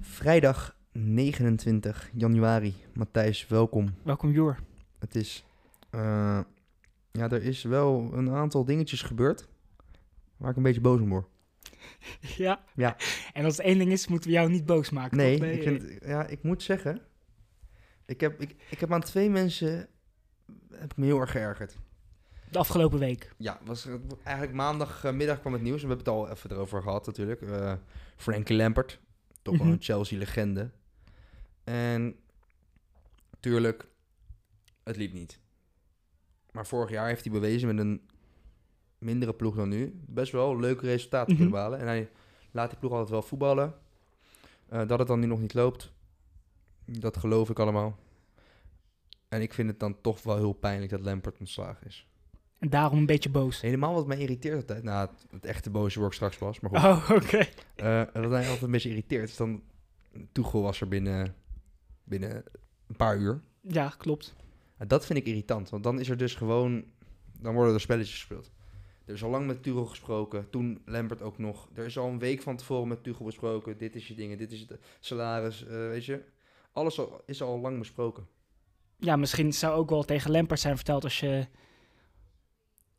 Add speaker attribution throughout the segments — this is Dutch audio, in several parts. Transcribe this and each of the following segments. Speaker 1: Vrijdag 29 januari. Matthijs, welkom.
Speaker 2: Welkom Joer.
Speaker 1: Het is. eh, ja, er is wel een aantal dingetjes gebeurd. Waar ik een beetje boos om word.
Speaker 2: Ja.
Speaker 1: Ja.
Speaker 2: En als het één ding is, moeten we jou niet boos maken.
Speaker 1: Nee,
Speaker 2: toch? eh,
Speaker 1: ik, vind, ja, ik moet zeggen. Ik heb, ik, ik heb aan twee mensen. Heb ik me heel erg geërgerd.
Speaker 2: De afgelopen week.
Speaker 1: Ja, was, eigenlijk maandagmiddag kwam het nieuws. En we hebben het al even erover gehad, natuurlijk. Eh Frankie Lampert. Toch wel
Speaker 2: Mhm.
Speaker 1: een Chelsea-legende. En. Tuurlijk. Het liep niet. Maar vorig jaar heeft hij bewezen met een mindere ploeg dan nu. Best wel leuke resultaten
Speaker 2: Mhm.
Speaker 1: kunnen behalen. En hij laat die ploeg altijd wel voetballen. Eh, dat het dan nu nog niet loopt. Dat geloof ik allemaal. En ik vind het dan toch wel heel pijnlijk dat Lampert ontslagen is.
Speaker 2: En daarom een beetje boos.
Speaker 1: Helemaal wat mij irriteert altijd. Nou, het, het echte boze word ik straks pas. Maar goed.
Speaker 2: Oh, oké.
Speaker 1: Eh, dat hij altijd een beetje irriteert. Dus dan... Toegel was er binnen, binnen een paar uur.
Speaker 2: Ja, klopt.
Speaker 1: En dat vind ik irritant, want dan is er dus gewoon... Dan worden er spelletjes gespeeld. Er is al lang met Tuchel gesproken, toen Lampert ook nog. Er is al een week van tevoren met Tuchel besproken. Dit is je dingen, dit is het salaris, eh, weet je. Alles al, is al lang besproken.
Speaker 2: Ja, misschien zou ook wel tegen Lampert zijn verteld als je...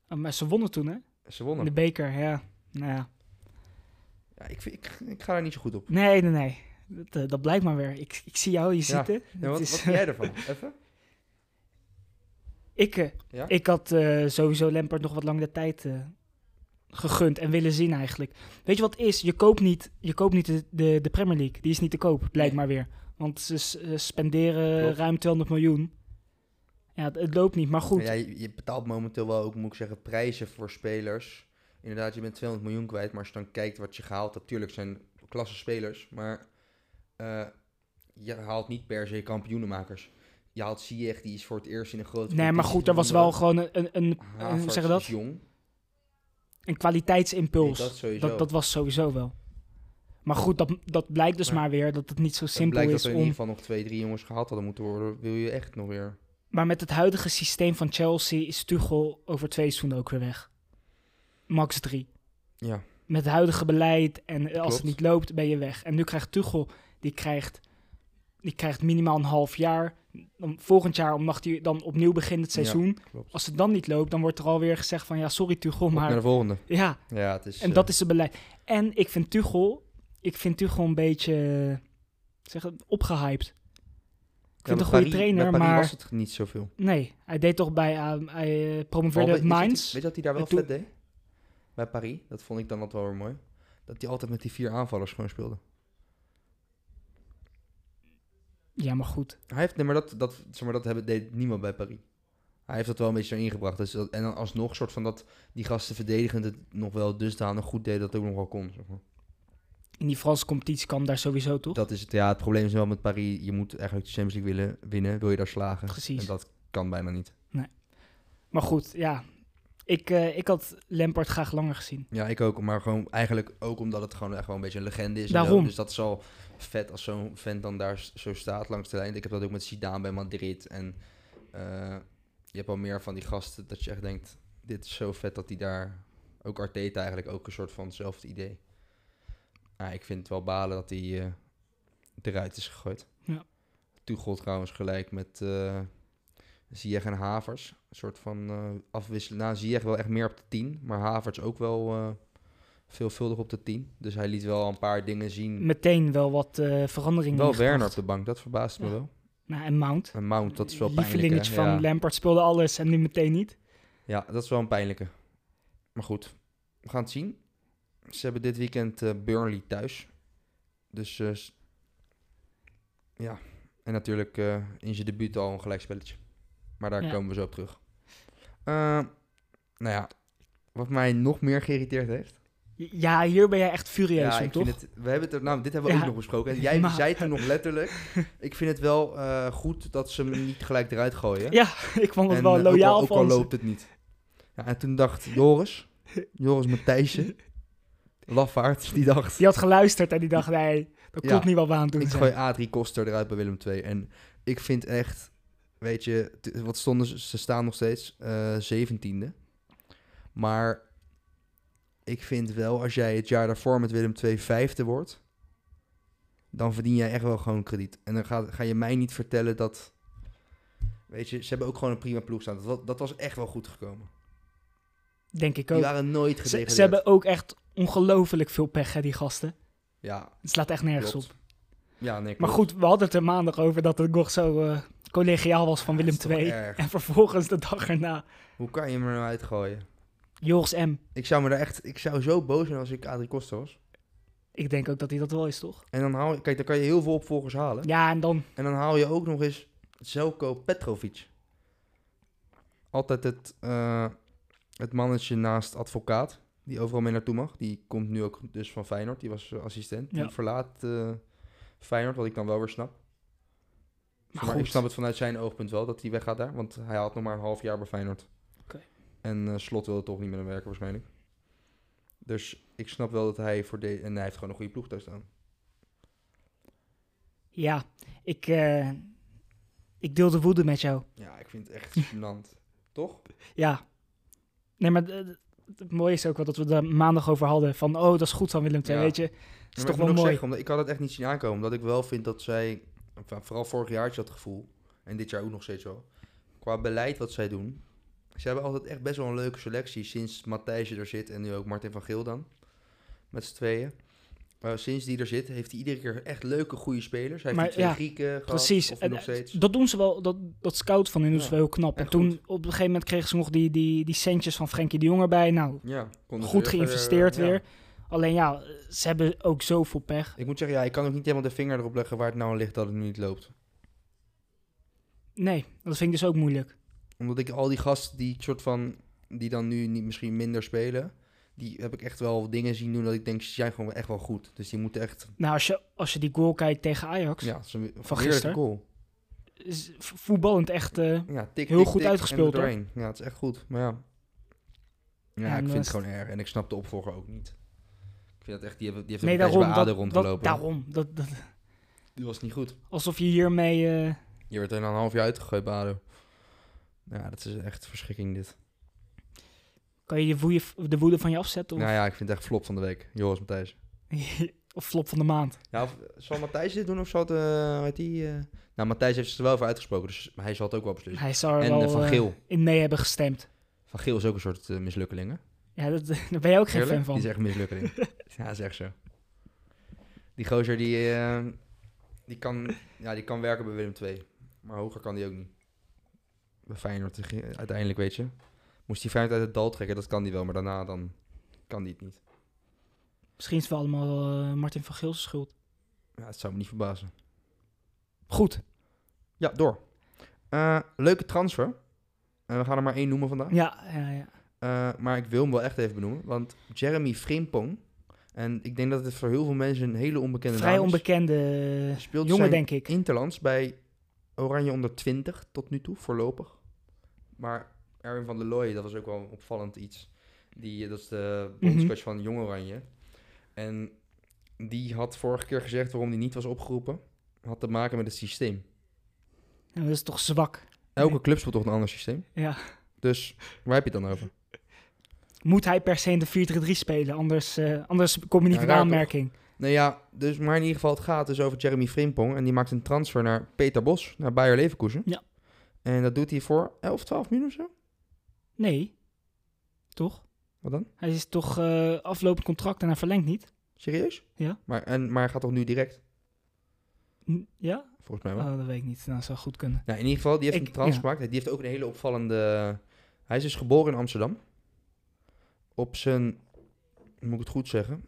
Speaker 2: Oh, maar ze wonnen toen, hè?
Speaker 1: Ze
Speaker 2: In de
Speaker 1: wonnen.
Speaker 2: beker, ja. Nou ja.
Speaker 1: Ja, ik, vind- ik, ik ga daar niet zo goed op.
Speaker 2: Nee, nee, nee. Dat, eh, dat blijkt maar weer. Ik, ik zie jou, je ziet
Speaker 1: Ja.
Speaker 2: het.
Speaker 1: Ja,
Speaker 2: Het
Speaker 1: wat,
Speaker 2: is,
Speaker 1: wat vind jij ervan? Even?
Speaker 2: Ik, eh,
Speaker 1: Ja?
Speaker 2: ik had eh, sowieso Lampert nog wat lang de tijd eh, gegund en willen zien eigenlijk. Weet je wat het is? Je koopt niet, je koopt niet de, de, de Premier League. Die is niet te koop, blijkt maar weer. Want ze s- eh, spenderen
Speaker 1: Klopt.
Speaker 2: ruim 200 miljoen. Ja, het, het loopt niet, maar goed.
Speaker 1: Ja, je, je betaalt momenteel wel ook, moet ik zeggen, prijzen voor spelers. Inderdaad, je bent 200 miljoen kwijt, maar als je dan kijkt wat je gehaald hebt, tuurlijk zijn klasse spelers, maar eh, je haalt niet per se kampioenenmakers. Je haalt Ziyech, die is voor het eerst in een grote...
Speaker 2: nee, maar
Speaker 1: competitie
Speaker 2: goed, er was wel
Speaker 1: gevonden.
Speaker 2: gewoon een, een, een,
Speaker 1: Havertz
Speaker 2: hoe zeg je dat?
Speaker 1: is jong.
Speaker 2: een kwaliteitsimpuls.
Speaker 1: Nee, dat sowieso.
Speaker 2: dat, dat was sowieso wel. Maar goed, dat, dat blijkt dus
Speaker 1: Ja.
Speaker 2: maar weer dat het niet zo
Speaker 1: Dan
Speaker 2: simpel
Speaker 1: blijkt
Speaker 2: is
Speaker 1: dat er in
Speaker 2: om
Speaker 1: ieder geval nog twee, drie jongens gehaald hadden moeten worden. Wil je echt nog weer...
Speaker 2: Maar met het huidige systeem van Chelsea is Tuchel over twee seizoenen ook weer weg. Max 3.
Speaker 1: Ja.
Speaker 2: Met het huidige beleid en als
Speaker 1: Klopt.
Speaker 2: het niet loopt, ben je weg. En nu krijgt Tuchel, die krijgt, die krijgt minimaal een half jaar. Dan, volgend jaar mag hij dan opnieuw beginnen het
Speaker 1: Ja,
Speaker 2: seizoen.
Speaker 1: klopt.
Speaker 2: Als het dan niet loopt, dan wordt er alweer gezegd van ja, sorry Tuchel,
Speaker 1: Op Naar
Speaker 2: maar
Speaker 1: de volgende.
Speaker 2: ja,
Speaker 1: Ja, het is...
Speaker 2: en
Speaker 1: eh,
Speaker 2: dat is het beleid. En ik vind Tuchel, ik vind Tuchel een beetje eh, zeg, het, opgehyped. Ik
Speaker 1: ja,
Speaker 2: vind
Speaker 1: met
Speaker 2: het een goede
Speaker 1: Paris-
Speaker 2: trainer,
Speaker 1: met Paris
Speaker 2: maar
Speaker 1: was het niet zoveel.
Speaker 2: nee, hij deed toch bij, eh, hij eh, promoveerde
Speaker 1: Al, weet-
Speaker 2: het
Speaker 1: weet je wat
Speaker 2: Mainz.
Speaker 1: hij- Weet je wat hij daar wel
Speaker 2: En toen-
Speaker 1: vet deed? Bij Paris, dat vond ik dan altijd wel weer mooi. Dat hij altijd met die vier aanvallers gewoon speelde.
Speaker 2: Ja, maar goed.
Speaker 1: Hij heeft, nee, maar dat, dat, zeg maar, dat hebben, deed niemand bij Paris. Hij heeft dat wel een beetje zo ingebracht. Dus dat, en dan alsnog soort van dat die gasten verdedigend het nog wel dusdanig goed deden dat het ook nog wel kon. Zeg maar.
Speaker 2: In die Franse competitie kan daar sowieso toch?
Speaker 1: Dat is het, ja, het probleem is wel met Paris. Je moet eigenlijk de Champions League willen, winnen, wil je daar slagen.
Speaker 2: Precies.
Speaker 1: En dat kan bijna niet.
Speaker 2: Maar goed, ja. Ik, eh, ik had Lampard graag langer gezien.
Speaker 1: Ja, ik ook. Maar gewoon eigenlijk ook omdat het gewoon echt wel een beetje een legende is. en
Speaker 2: Daarom.
Speaker 1: zo. Dus dat is al vet als zo'n vent dan daar s- zo staat langs de lijn. Ik heb dat ook met Zidane bij Madrid. En eh, je hebt al meer van die gasten dat je echt denkt... Dit is zo vet dat die daar... Ook Arteta eigenlijk ook een soort van hetzelfde idee. Ah, ik vind het wel balen dat hij eh, eruit is gegooid.
Speaker 2: Ja.
Speaker 1: Tuchel trouwens gelijk met eh Ziyech en Havers. Een soort van eh afwisselen. Nou, Ziyech wel echt meer op de 10. Maar Havertz ook wel eh, veelvuldig op de 10. Dus hij liet wel een paar dingen zien.
Speaker 2: Meteen wel wat eh veranderingen.
Speaker 1: Wel
Speaker 2: ingebracht.
Speaker 1: Werner op de bank, dat verbaast me
Speaker 2: Ja.
Speaker 1: wel.
Speaker 2: Nou, en Mount.
Speaker 1: En Mount, dat is wel pijnlijk. hè?
Speaker 2: Lievelingetje van
Speaker 1: ja.
Speaker 2: Lampard speelde alles en nu meteen niet.
Speaker 1: ja, dat is wel een pijnlijke. Maar goed, we gaan het zien. Ze hebben dit weekend eh, Burnley thuis. Dus eh, s- ja, en natuurlijk eh, in zijn debuut al een gelijkspelletje. Maar daar
Speaker 2: Ja.
Speaker 1: komen we zo op terug. Eh, nou ja, wat mij nog meer geïrriteerd heeft,
Speaker 2: Ja, hier ben jij echt furieus
Speaker 1: ja,
Speaker 2: om,
Speaker 1: ik
Speaker 2: toch?
Speaker 1: vind het, we hebben het er, nou, dit hebben we
Speaker 2: Ja.
Speaker 1: ook nog besproken. En jij
Speaker 2: Maar-
Speaker 1: zei toen nog letterlijk, ik vind het wel eh, goed dat ze hem niet gelijk eruit gooien.
Speaker 2: Ja, ik vond het
Speaker 1: En,
Speaker 2: wel
Speaker 1: eh, ook al-
Speaker 2: loyaal
Speaker 1: Ook al,
Speaker 2: van ze.
Speaker 1: loopt het niet. Ja, en toen dacht Joris, Joris Matthijsje, lafaard, die dacht...
Speaker 2: Die had geluisterd en die dacht, nee, dat
Speaker 1: Ja,
Speaker 2: klopt niet wat we aan het doen
Speaker 1: Ik
Speaker 2: zijn.
Speaker 1: gooi Adrie Koster eruit bij Willem II. En ik vind echt, weet je, t- wat stonden ze? Ze staan nog steeds eh, zeventiende. maar ik vind wel, als jij het jaar daarvoor met Willem II vijfde wordt, dan verdien jij echt wel gewoon krediet. En dan ga, ga je mij niet vertellen dat, weet je, ze hebben ook gewoon een prima ploeg staan. Dat, wa- dat was echt wel goed gekomen.
Speaker 2: Denk ik
Speaker 1: Die
Speaker 2: ook.
Speaker 1: waren nooit
Speaker 2: Ze,
Speaker 1: gedegradeerd.
Speaker 2: ze hebben ook echt ongelooflijk veel pech, hè, die gasten.
Speaker 1: Ja,
Speaker 2: Het slaat echt nergens
Speaker 1: klopt.
Speaker 2: op.
Speaker 1: Ja, nee,
Speaker 2: Maar
Speaker 1: klopt.
Speaker 2: goed, we hadden het er maandag over dat het nog zo eh, collegiaal was van Willem
Speaker 1: Dat is toch
Speaker 2: II.
Speaker 1: erg.
Speaker 2: En vervolgens de dag erna,
Speaker 1: Hoe kan je hem eruit gooien?
Speaker 2: Joris M.
Speaker 1: Ik zou me daar echt, ik zou zo boos zijn als ik Adrie Koster was.
Speaker 2: Ik denk ook dat hij dat wel is, toch?
Speaker 1: En dan haal je, kijk, dan kan je heel veel opvolgers halen.
Speaker 2: Ja, en dan...
Speaker 1: En dan haal je ook nog eens Zelko Petrovic. Altijd het, eh, het mannetje naast advocaat, die overal mee naartoe mag. Die komt nu ook dus van Feyenoord, die was eh, assistent.
Speaker 2: Ja.
Speaker 1: Die verlaat eh, Feyenoord, wat ik dan wel weer snap.
Speaker 2: Maar
Speaker 1: Maar,
Speaker 2: goed,
Speaker 1: ik snap het vanuit zijn oogpunt wel dat hij weggaat daar, want hij had nog maar een half jaar bij Feyenoord.
Speaker 2: Oké.
Speaker 1: En eh, Slot wil toch niet met hem werken waarschijnlijk. Dus ik snap wel dat hij voor de... En hij heeft gewoon een goede ploeg daar staan.
Speaker 2: ja, ik, eh, ik deel de woede met jou.
Speaker 1: Ja, ik vind het echt gênant. Toch?
Speaker 2: Ja. Nee, maar eh, het mooie is ook wel dat we daar maandag over hadden. Van, oh, dat is goed van Willem II,
Speaker 1: Ja.
Speaker 2: weet je.
Speaker 1: Maar
Speaker 2: is toch
Speaker 1: ik moet
Speaker 2: wel
Speaker 1: ook
Speaker 2: mooi.
Speaker 1: Zeggen, omdat ik had het echt niet zien aankomen. Omdat ik wel vind dat zij, enfin, vooral vorig jaar had je dat gevoel, en dit jaar ook nog steeds wel, qua beleid wat zij doen. Ze hebben altijd echt best wel een leuke selectie sinds Matthijsje er zit en nu ook Martin van Geel dan. Met z'n tweeën. Maar sinds die er zit, heeft hij iedere keer echt leuke, goede spelers. Hij heeft
Speaker 2: Maar
Speaker 1: die twee
Speaker 2: ja,
Speaker 1: Grieken gehad,
Speaker 2: Precies.
Speaker 1: of nu
Speaker 2: En,
Speaker 1: nog
Speaker 2: eh,
Speaker 1: steeds.
Speaker 2: dat doen ze wel, dat, dat scout van hun doen
Speaker 1: Ja,
Speaker 2: ze wel heel knap. En
Speaker 1: echt
Speaker 2: toen
Speaker 1: goed.
Speaker 2: op een gegeven moment kregen ze nog die, die, die centjes van Frenkie de Jong erbij. Nou,
Speaker 1: ja, konden ze
Speaker 2: goed
Speaker 1: weer-
Speaker 2: geïnvesteerd
Speaker 1: ja.
Speaker 2: weer. Alleen ja, ze hebben ook zoveel pech.
Speaker 1: Ik moet zeggen, ja, ik kan ook niet helemaal de vinger erop leggen waar het nou aan ligt dat het nu niet loopt.
Speaker 2: Nee, dat vind ik dus ook moeilijk.
Speaker 1: Omdat ik al die gasten die soort van die dan nu niet misschien minder spelen, die heb ik echt wel dingen zien doen dat ik denk, ze zijn gewoon echt wel goed. Dus die moeten echt.
Speaker 2: Nou, als je, als je die goal kijkt tegen Ajax,
Speaker 1: Ja, het is een een
Speaker 2: Van
Speaker 1: heerlijke
Speaker 2: gisteren?
Speaker 1: goal.
Speaker 2: is v- voetballend echt... eh,
Speaker 1: Ja, tik,
Speaker 2: Heel
Speaker 1: tik,
Speaker 2: goed
Speaker 1: tik,
Speaker 2: uitgespeeld,
Speaker 1: en er doorheen. Ja, het is echt goed. Maar ja. Ja,
Speaker 2: Ja,
Speaker 1: ik
Speaker 2: en eh,
Speaker 1: vind
Speaker 2: dan
Speaker 1: het
Speaker 2: is
Speaker 1: gewoon erg. En ik snap de opvolger ook niet. Ik vind dat echt, die, hebben, die heeft
Speaker 2: nee,
Speaker 1: ook een tijdje bij ADO
Speaker 2: daarom. Dat, dat,
Speaker 1: rondgelopen.
Speaker 2: daarom. Dat, dat,
Speaker 1: Die was niet goed.
Speaker 2: alsof je hiermee... eh,
Speaker 1: Je werd er na een half jaar uitgegooid bij ADO. Ja, dat is echt verschrikking dit.
Speaker 2: kan je je woeie- de woede van je afzetten? Of,
Speaker 1: Nou ja, ik vind het echt flop van de week. Joris Matthijs.
Speaker 2: of flop van de maand?
Speaker 1: Ja, of, zal Matthijs dit doen of zal het, eh, weet die... eh, Nou, Matthijs heeft zich er wel voor uitgesproken, dus hij zal het ook wel beslissen.
Speaker 2: Hij zou er
Speaker 1: En
Speaker 2: wel
Speaker 1: eh, Van
Speaker 2: eh,
Speaker 1: Geel.
Speaker 2: in mee hebben gestemd.
Speaker 1: Van Geel is ook een soort eh, mislukkeling, hè?
Speaker 2: Ja, dat, daar ben je ook geen
Speaker 1: Eerlijk?
Speaker 2: fan van.
Speaker 1: Die is echt een mislukkeling. ja, dat is echt zo. Die gozer, die, eh, die, kan, ja, die kan werken bij Willem II. Maar hoger kan die ook niet. Bij Feyenoord, eh, uiteindelijk, weet je. Moest hij Feyenoord uit het dal trekken, dat kan die wel. Maar daarna dan kan die het niet.
Speaker 2: Misschien is het wel allemaal eh, Martin van Geel's schuld.
Speaker 1: Ja, het zou me niet verbazen.
Speaker 2: Goed.
Speaker 1: Ja, door. Eh, leuke transfer. En we gaan er maar één noemen vandaag.
Speaker 2: Ja, ja, ja.
Speaker 1: Eh, maar ik wil hem wel echt even benoemen. Want Jeremy Frimpong. En ik denk dat het voor heel veel mensen een hele onbekende
Speaker 2: vrij
Speaker 1: naam is.
Speaker 2: onbekende
Speaker 1: Speelt
Speaker 2: jongen,
Speaker 1: zijn
Speaker 2: denk ik.
Speaker 1: Interlands bij Oranje onder 20 tot nu toe, voorlopig. Maar Erwin van der Looy, dat was ook wel een opvallend iets. Die, eh, dat is de
Speaker 2: Mhm.
Speaker 1: bondscoach van Jong Oranje. En die had vorige keer gezegd waarom die niet was opgeroepen. Had te maken met het systeem.
Speaker 2: En dat is toch zwak.
Speaker 1: Elke club speelt toch een ander systeem.
Speaker 2: Ja.
Speaker 1: Dus waar heb je het dan over?
Speaker 2: Moet hij per se in de 4-3-3 spelen? Anders, eh, anders kom je niet
Speaker 1: Ja,
Speaker 2: in
Speaker 1: raar,
Speaker 2: aanmerking.
Speaker 1: Nou ja, dus, maar in ieder geval, het gaat dus over Jeremy Frimpong. En die maakt een transfer naar Peter Bos, naar Bayer Leverkusen.
Speaker 2: Ja.
Speaker 1: En dat doet hij voor 11, 12 miljoen of zo?
Speaker 2: Nee. Toch?
Speaker 1: Wat dan?
Speaker 2: Hij is toch eh, aflopend contract en hij verlengt niet?
Speaker 1: Serieus?
Speaker 2: Ja.
Speaker 1: Maar, en, maar hij gaat toch nu direct?
Speaker 2: Hm, Ja?
Speaker 1: Volgens mij wel.
Speaker 2: Oh, dat weet ik niet. Nou, dat zou goed kunnen.
Speaker 1: Nou, in ieder geval, die heeft
Speaker 2: Ik-
Speaker 1: een trans
Speaker 2: ja.
Speaker 1: gemaakt. Die heeft ook een hele opvallende... Hij is dus geboren in Amsterdam. Op zijn... Moet ik het goed zeggen?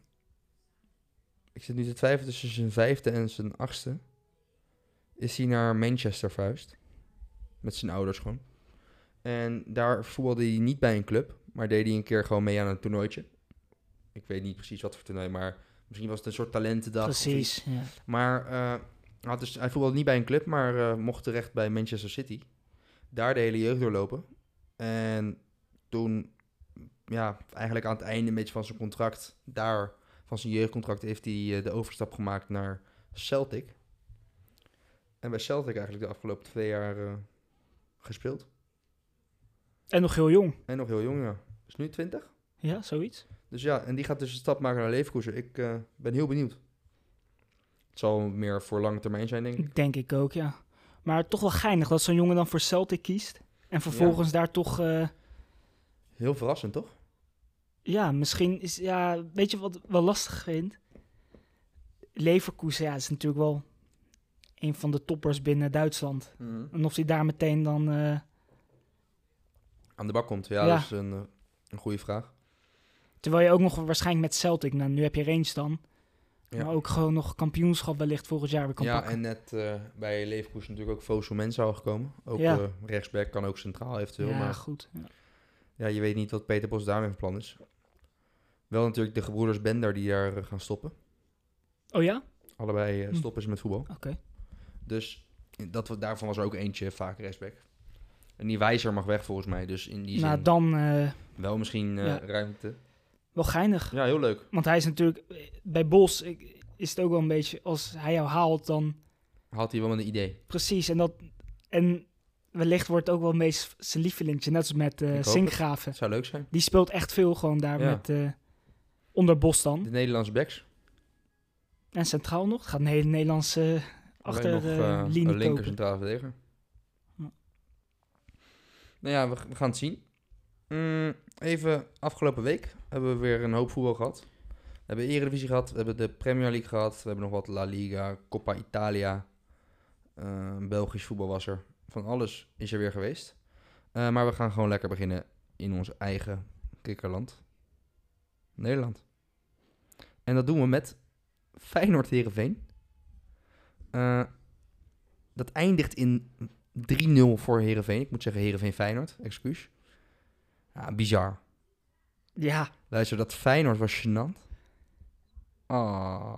Speaker 1: Ik zit nu te twijfelen tussen zijn vijfde en zijn achtste. Is hij naar Manchester verhuisd. Met zijn ouders gewoon. En daar voetbalde hij niet bij een club. Maar deed hij een keer gewoon mee aan een toernooitje. Ik weet niet precies wat voor toernooi, maar misschien was het een soort talentendag. of iets.
Speaker 2: Precies. Ja.
Speaker 1: Maar eh, hij had dus, hij voetbalde niet bij een club, maar eh, mocht terecht bij Manchester City. Daar de hele jeugd doorlopen. En toen, ja, eigenlijk aan het einde een beetje van zijn contract, daar, van zijn jeugdcontract, heeft hij eh, de overstap gemaakt naar Celtic. En bij Celtic eigenlijk de afgelopen twee jaar eh, gespeeld.
Speaker 2: En nog heel jong.
Speaker 1: En nog heel jong, ja. Is nu 20.
Speaker 2: Ja, zoiets.
Speaker 1: Dus ja, en die gaat dus een stap maken naar Leverkusen. Ik eh, ben heel benieuwd. Het zal meer voor lange termijn zijn, denk ik.
Speaker 2: Denk ik ook, ja. Maar toch wel geinig dat zo'n jongen dan voor Celtic kiest. En vervolgens daar toch... eh,
Speaker 1: Heel verrassend, toch?
Speaker 2: ja, misschien is... Ja, weet je wat ik wel lastig vind? Leverkusen, ja, is natuurlijk wel een van de toppers binnen Duitsland. En of hij daar meteen dan... eh,
Speaker 1: Aan de bak komt, ja,
Speaker 2: Ja.
Speaker 1: dat is een, eh, een goede vraag.
Speaker 2: terwijl je ook nog waarschijnlijk met Celtic... Nou, nu heb je Range dan.
Speaker 1: Ja.
Speaker 2: Maar ook gewoon nog kampioenschap wellicht volgend jaar weer kan
Speaker 1: ja,
Speaker 2: pakken.
Speaker 1: en net eh, bij Leverkusen natuurlijk ook Fosu Mensah gekomen. Ook
Speaker 2: Ja.
Speaker 1: eh, rechtsback, kan ook centraal eventueel.
Speaker 2: ja,
Speaker 1: Maar
Speaker 2: goed. Ja.
Speaker 1: ja, je weet niet wat Peter Bos daarmee van plan is. Wel natuurlijk de gebroeders Bender die daar eh, gaan stoppen.
Speaker 2: Oh ja?
Speaker 1: Allebei eh,
Speaker 2: Hm.
Speaker 1: stoppen ze met voetbal.
Speaker 2: Oké.
Speaker 1: Dus dat, we- daarvan was er ook eentje vaak rechtsback. En die wijzer mag weg volgens mij. Dus in die zin
Speaker 2: Nou, dan eh,
Speaker 1: wel misschien eh,
Speaker 2: Ja.
Speaker 1: ruimte.
Speaker 2: wel geinig.
Speaker 1: Ja, heel leuk.
Speaker 2: Want hij is natuurlijk bij Bos ik- is het ook wel een beetje als hij jou haalt dan
Speaker 1: Had hij wel een idee.
Speaker 2: precies en dat en wellicht wordt het ook wel een beetje zijn lievelingetje net als met eh
Speaker 1: hoop het.
Speaker 2: Sinkgraven.
Speaker 1: Het zou leuk zijn.
Speaker 2: Die speelt echt veel gewoon daar
Speaker 1: Ja.
Speaker 2: met eh, onder Bos
Speaker 1: De
Speaker 2: dan
Speaker 1: Nederlandse backs.
Speaker 2: en centraal nog. Het gaat een hele Nederlandse
Speaker 1: Alleen nog, eh,
Speaker 2: achterlinie
Speaker 1: een linker
Speaker 2: kopen.
Speaker 1: centrale verdediger.
Speaker 2: Ja.
Speaker 1: Nou ja, we, g- we gaan het zien. Mm, even afgelopen week hebben we weer een hoop voetbal gehad. We hebben Eredivisie gehad, we hebben de Premier League gehad, we hebben nog wat La Liga, Coppa Italia, eh, Belgisch voetbal was er. Van alles is er weer geweest. Eh, maar we gaan gewoon lekker beginnen in ons eigen kikkerland, Nederland. En dat doen we met Feyenoord-Herenveen. Eh dat eindigt in 3-0 voor Herenveen. Ik moet zeggen Herenveen Feyenoord, excuus. Ja, bizar.
Speaker 2: Ja,
Speaker 1: Luister, dat Feyenoord was gênant. Ah.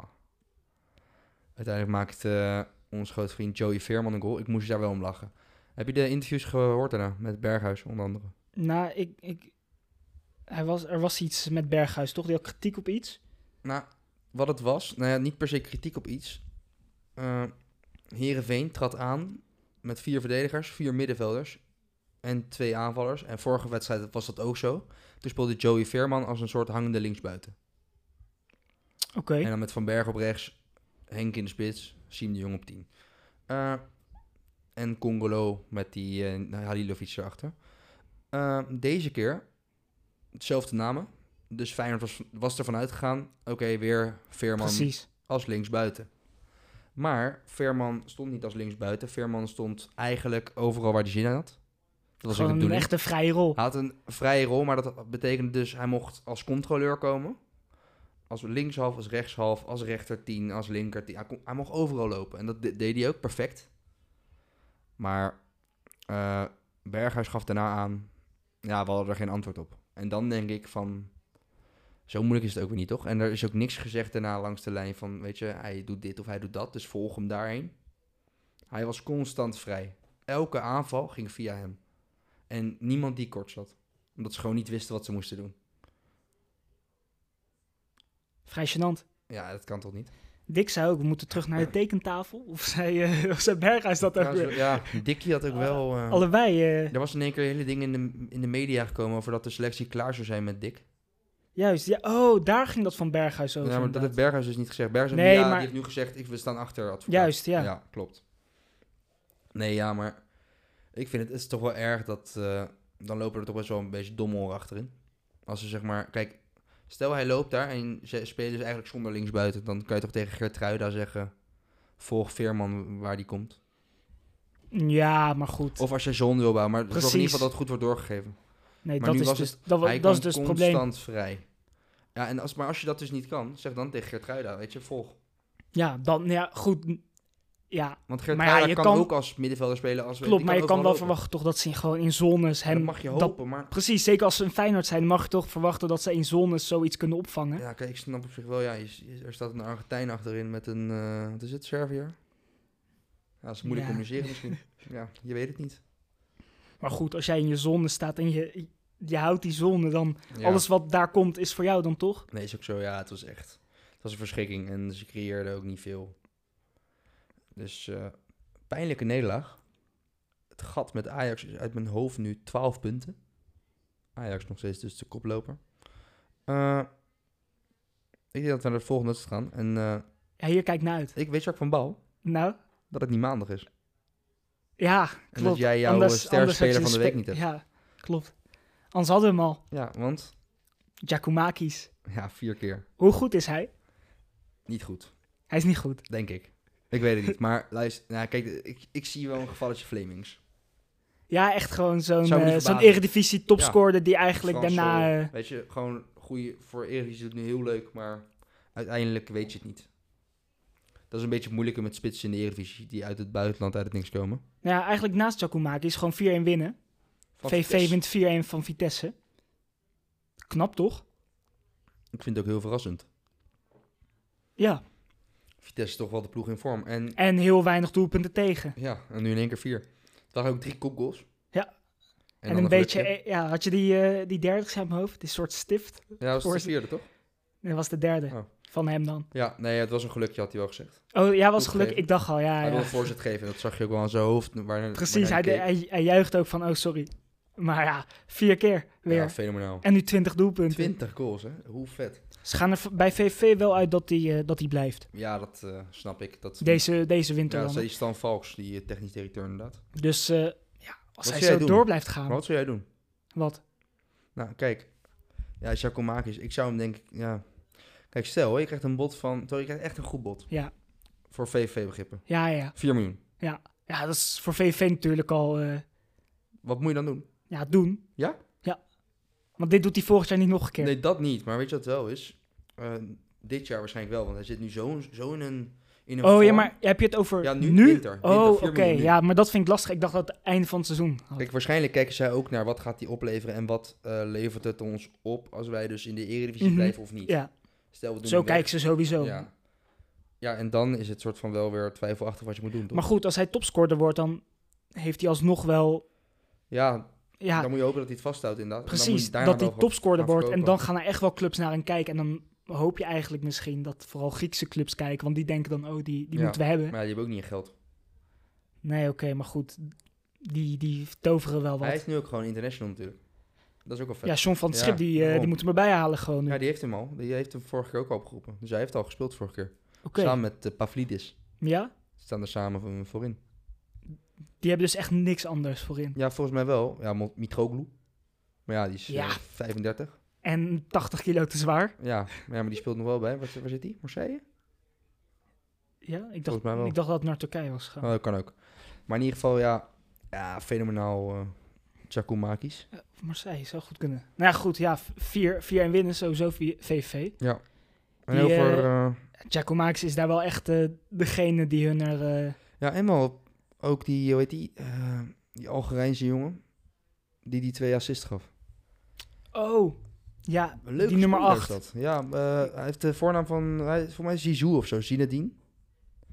Speaker 1: Uiteindelijk maakt eh ons grote vriend Joey Veerman een goal. Ik moest daar wel om lachen. Heb je de interviews gehoord daarna? Met Berghuis onder andere.
Speaker 2: nou ik, ik hij was, er was iets met Berghuis, toch? Die had kritiek op iets.
Speaker 1: Nou, wat het was, nou ja, niet per se kritiek op iets. Eh Herenveen trad aan met vier verdedigers, vier middenvelders en twee aanvallers. En vorige wedstrijd was dat ook zo. Toen speelde Joey Veerman als een soort hangende linksbuiten.
Speaker 2: Oké.
Speaker 1: En dan met Van Berg op rechts, Henk in de spits, Siem de Jong op 10. Eh, en Congolo met die eh Halilovic erachter. Eh, deze keer, hetzelfde namen. Dus Feyenoord was, was ervan uitgegaan. Oké, weer Veerman
Speaker 2: Precies.
Speaker 1: als linksbuiten. Maar Veerman stond niet als linksbuiten. Veerman stond eigenlijk overal waar hij zin in had. Dat was ook de
Speaker 2: Gewoon een
Speaker 1: bedoeling.
Speaker 2: echte vrije rol.
Speaker 1: Hij had een vrije rol, maar dat betekende dus hij mocht als controleur komen. Als linkshalf, als rechtshalf, als rechter 10, als linker 10. Hij, kon- hij mocht overal lopen en dat de- deed hij ook perfect. Maar eh, Berghuis gaf daarna aan, ja, we hadden er geen antwoord op. En dan denk ik van, zo moeilijk is het ook weer niet, toch? En er is ook niks gezegd daarna langs de lijn van, weet je, hij doet dit of hij doet dat, dus volg hem daarheen. Hij was constant vrij. Elke aanval ging via hem. En niemand die kort zat. Omdat ze gewoon niet wisten wat ze moesten doen.
Speaker 2: Vrij gênant.
Speaker 1: Ja, dat kan toch niet?
Speaker 2: Dick zei ook, we moeten terug naar de tekentafel. Of zei, eh, of zei Berghuis dat ook
Speaker 1: Trouwens,
Speaker 2: weer?
Speaker 1: ja, Dickie had ook wel... eh,
Speaker 2: Allebei. eh,
Speaker 1: Er was in één keer hele dingen in de, in de media gekomen over dat de selectie klaar zou zijn met Dick.
Speaker 2: juist. Ja, oh, daar ging dat van Berghuis
Speaker 1: Ja,
Speaker 2: over.
Speaker 1: maar dat heeft
Speaker 2: inderdaad.
Speaker 1: Berghuis dus niet gezegd. Berghuis
Speaker 2: Nee,
Speaker 1: ja,
Speaker 2: maar-
Speaker 1: die heeft nu gezegd, ik, we staan achter. advocaat.
Speaker 2: Juist, ja.
Speaker 1: Ja, klopt. Nee, ja, maar ik vind het, het is toch wel erg dat... eh, dan lopen er toch best wel een beetje dommel achterin. Als ze zeg maar... Kijk, stel hij loopt daar en ze spelen dus eigenlijk zonder linksbuiten. Dan kan je toch tegen Geert zeggen... Volg Veerman waar die komt.
Speaker 2: Ja, maar goed.
Speaker 1: Of als je zon wil bouwen. Maar zorg in
Speaker 2: Precies.
Speaker 1: ieder geval dat het goed wordt doorgegeven.
Speaker 2: nee,
Speaker 1: maar
Speaker 2: dat
Speaker 1: nu
Speaker 2: is
Speaker 1: was
Speaker 2: dus,
Speaker 1: het-
Speaker 2: dat, wa-
Speaker 1: hij
Speaker 2: dat is
Speaker 1: kwam
Speaker 2: dus het probleem.
Speaker 1: constant vrij. Ja, en als, maar als je dat dus niet kan, zeg dan tegen Geert weet je, volg.
Speaker 2: Ja, dan, ja, goed. ja,
Speaker 1: Want Gert
Speaker 2: Maar ja, je
Speaker 1: kan,
Speaker 2: kan-
Speaker 1: ook als middenvelder spelen. Als,
Speaker 2: klopt. Maar je kan wel
Speaker 1: dat
Speaker 2: verwachten toch dat ze gewoon in zones hem...
Speaker 1: dat mag je hopen, maar...
Speaker 2: precies, zeker als ze een Feyenoord zijn, mag je toch verwachten dat ze in zones zoiets kunnen opvangen.
Speaker 1: Ja, kijk, ik snap op zich wel, ja, je- je- er staat een Argentijn achterin met een, eh, wat is het, Serviër? Ja, dat is moeilijk
Speaker 2: Ja.
Speaker 1: communiceren misschien. ja, je weet het niet.
Speaker 2: Maar goed, als jij in je zone staat en je, je houdt die zone, dan
Speaker 1: Ja.
Speaker 2: alles wat daar komt is voor jou dan toch?
Speaker 1: Nee, is ook zo, ja, het was echt, het was een verschrikking en ze creëerden ook niet veel. Dus, eh, pijnlijke nederlaag. Het gat met Ajax is uit mijn hoofd nu 12 punten. Ajax nog steeds dus de koploper. Eh, ik denk dat we naar de volgende wedstrijd gaan. En eh,
Speaker 2: Ja, hier kijk naar uit.
Speaker 1: ik weet Jacques van Bal
Speaker 2: Nou,
Speaker 1: dat het niet maandag is.
Speaker 2: ja, klopt.
Speaker 1: En dat jij jouw eh,
Speaker 2: Anders- anders had je
Speaker 1: sterspeler van de
Speaker 2: spe-
Speaker 1: week niet hebt. Ja.
Speaker 2: Ja, klopt. Anders hadden we hem al.
Speaker 1: want
Speaker 2: Giacomakis.
Speaker 1: ja, vier keer.
Speaker 2: Hoe goed is hij?
Speaker 1: Niet goed,
Speaker 2: Hij is niet goed.
Speaker 1: denk ik. Ik weet het niet, maar luister. Nou, kijk, ik, ik zie wel een gevalletje Flemings.
Speaker 2: Ja, echt gewoon zo'n
Speaker 1: Zou me niet
Speaker 2: eh, zo'n
Speaker 1: verbazen.
Speaker 2: eredivisie topscorer die eigenlijk
Speaker 1: Frans
Speaker 2: daarna...
Speaker 1: Sol,
Speaker 2: eh,
Speaker 1: weet je, gewoon goede voor Eredivisie is het nu heel leuk, maar uiteindelijk weet je het niet. Dat is een beetje moeilijker met spitsen in de Eredivisie die uit het buitenland uit het niks komen.
Speaker 2: nou ja, eigenlijk naast Giacomakis gewoon 4-1 winnen.
Speaker 1: Van
Speaker 2: VV
Speaker 1: Vitesse.
Speaker 2: wint 4-1 van Vitesse. Knap toch?
Speaker 1: Ik vind het ook heel verrassend.
Speaker 2: Ja.
Speaker 1: Vitesse is toch wel de ploeg in vorm. En
Speaker 2: En heel weinig doelpunten tegen.
Speaker 1: ja, en nu in één keer vier. Het waren ook drie kopgoals.
Speaker 2: Ja. En,
Speaker 1: dan
Speaker 2: een beetje...
Speaker 1: gelukje.
Speaker 2: eh, Ja, had je die, eh die derde uit mijn hoofd? Die soort stift?
Speaker 1: Ja, dat was de
Speaker 2: voorzet.
Speaker 1: vierde, toch?
Speaker 2: Dat was de derde
Speaker 1: Oh.
Speaker 2: van hem dan.
Speaker 1: Ja, nee, het was een gelukje, had hij wel gezegd.
Speaker 2: Oh ja, was gelukkig.
Speaker 1: Toegegeven.
Speaker 2: Ik dacht al, ja.
Speaker 1: Hij
Speaker 2: ja.
Speaker 1: wilde een voorzet geven, dat zag je ook wel aan zijn hoofd. Waar,
Speaker 2: Precies, hij,
Speaker 1: waar
Speaker 2: de-
Speaker 1: keek.
Speaker 2: hij, hij juicht ook van, oh sorry. Maar ja, vier keer weer.
Speaker 1: Ja, fenomenaal.
Speaker 2: en nu 20 doelpunten.
Speaker 1: 20 goals, hè? Hoe vet.
Speaker 2: Ze gaan er v- bij VV wel uit dat hij eh, dat die blijft.
Speaker 1: Ja, dat eh, snap ik. Dat,
Speaker 2: Deze, deze winter
Speaker 1: ja, dat
Speaker 2: dan.
Speaker 1: is die Stan Valks, die eh, technisch directeur inderdaad.
Speaker 2: Dus eh, ja, als
Speaker 1: Wat
Speaker 2: hij
Speaker 1: zou jij
Speaker 2: zo
Speaker 1: doen?
Speaker 2: door blijft
Speaker 1: Maar
Speaker 2: gaan. Wat?
Speaker 1: wat zou jij doen? Nou, kijk. Ja, Giacomakis, ik zou hem denk ik, ja... Kijk, stel, hè, je krijgt een bot van... Sorry, je krijgt echt een goed bot.
Speaker 2: Ja.
Speaker 1: Voor VVV-begrippen.
Speaker 2: Ja, ja.
Speaker 1: 4 miljoen.
Speaker 2: Ja, dat is voor VV natuurlijk al eh,
Speaker 1: Wat moet je dan doen?
Speaker 2: ja, doen.
Speaker 1: Ja?
Speaker 2: Ja. Want dit doet hij volgend jaar niet nog een keer.
Speaker 1: Nee, dat niet. Maar weet je wat het wel is? Eh, dit jaar waarschijnlijk wel, want hij zit nu zo, zo in een... In een
Speaker 2: oh ja,
Speaker 1: vorm.
Speaker 2: maar heb je het over
Speaker 1: Ja, nu,
Speaker 2: nu?
Speaker 1: winter. Winter,
Speaker 2: Oh, oké.
Speaker 1: vier miljoen nu.
Speaker 2: Ja, maar dat vind ik lastig. Ik dacht dat het einde van het seizoen. had.
Speaker 1: Kijk, waarschijnlijk kijken zij ook naar wat gaat die opleveren en wat eh, levert het ons op als wij dus in de Eredivisie
Speaker 2: Mhm.
Speaker 1: blijven of niet.
Speaker 2: ja,
Speaker 1: Stel, we doen
Speaker 2: zo
Speaker 1: hem weg.
Speaker 2: kijken ze sowieso.
Speaker 1: Ja. ja, en dan is het soort van wel weer twijfelachtig wat je moet doen. Toch?
Speaker 2: Maar goed, als hij topscorer wordt, dan heeft hij alsnog wel.
Speaker 1: ja,
Speaker 2: Ja,
Speaker 1: dan moet je hopen dat hij het vasthoudt inderdaad. En dan moet
Speaker 2: precies.
Speaker 1: je daarna
Speaker 2: Dat
Speaker 1: wel
Speaker 2: hij
Speaker 1: gaan-
Speaker 2: topscorer
Speaker 1: gaan
Speaker 2: wordt. En
Speaker 1: verkopen.
Speaker 2: dan gaan er echt wel clubs naar hem kijken. En dan hoop je eigenlijk misschien dat vooral Griekse clubs kijken. Want die denken dan, oh, die, die
Speaker 1: Ja,
Speaker 2: moeten we hebben.
Speaker 1: Maar ja, die hebben ook niet geld.
Speaker 2: Nee, oké, maar goed. Die, die toveren wel
Speaker 1: Hij
Speaker 2: wat.
Speaker 1: is nu ook gewoon international natuurlijk. Dat is ook al vet.
Speaker 2: Ja,
Speaker 1: Ja,
Speaker 2: Sean van het
Speaker 1: Ja,
Speaker 2: Schip, die, eh,
Speaker 1: daarom.
Speaker 2: die moeten we erbij halen gewoon nu.
Speaker 1: die heeft hem al. Die heeft hem vorige keer ook al opgeroepen. Dus hij heeft al gespeeld vorige keer.
Speaker 2: Oké,
Speaker 1: Samen met eh, Pavlidis.
Speaker 2: ja?
Speaker 1: Ze staan er samen voor- voorin.
Speaker 2: Die hebben dus echt niks anders voorin.
Speaker 1: Ja, volgens mij wel. Ja, Mo- Mitroglou. Maar ja, die is eh,
Speaker 2: Ja.
Speaker 1: 35.
Speaker 2: En 80 kilo te zwaar.
Speaker 1: Ja, maar, ja, maar die speelt nog wel bij. Waar, waar zit die? Marseille?
Speaker 2: Ja, ik dacht,
Speaker 1: Volgens mij wel.
Speaker 2: ik dacht dat het naar Turkije was gegaan.
Speaker 1: Oh, dat kan ook. Maar in ieder geval, ja, ja fenomenaal eh Giacomakis.
Speaker 2: Of Marseille zou goed kunnen. Nou ja, goed, ja. 4-1 winnen, sowieso vi- VVV.
Speaker 1: En
Speaker 2: Die,
Speaker 1: over, eh,
Speaker 2: Giacomakis is daar wel echt eh, degene die hun er... eh,
Speaker 1: ja, en wel ook die, hoe heet die, eh, die Algerijnse jongen. Die die twee assists gaf.
Speaker 2: Oh, ja,
Speaker 1: Een leuke
Speaker 2: die nummer
Speaker 1: speler is
Speaker 2: 8.
Speaker 1: dat. Ja, eh, hij heeft de voornaam van, hij, voor mij Zizou of zo, Zinedine.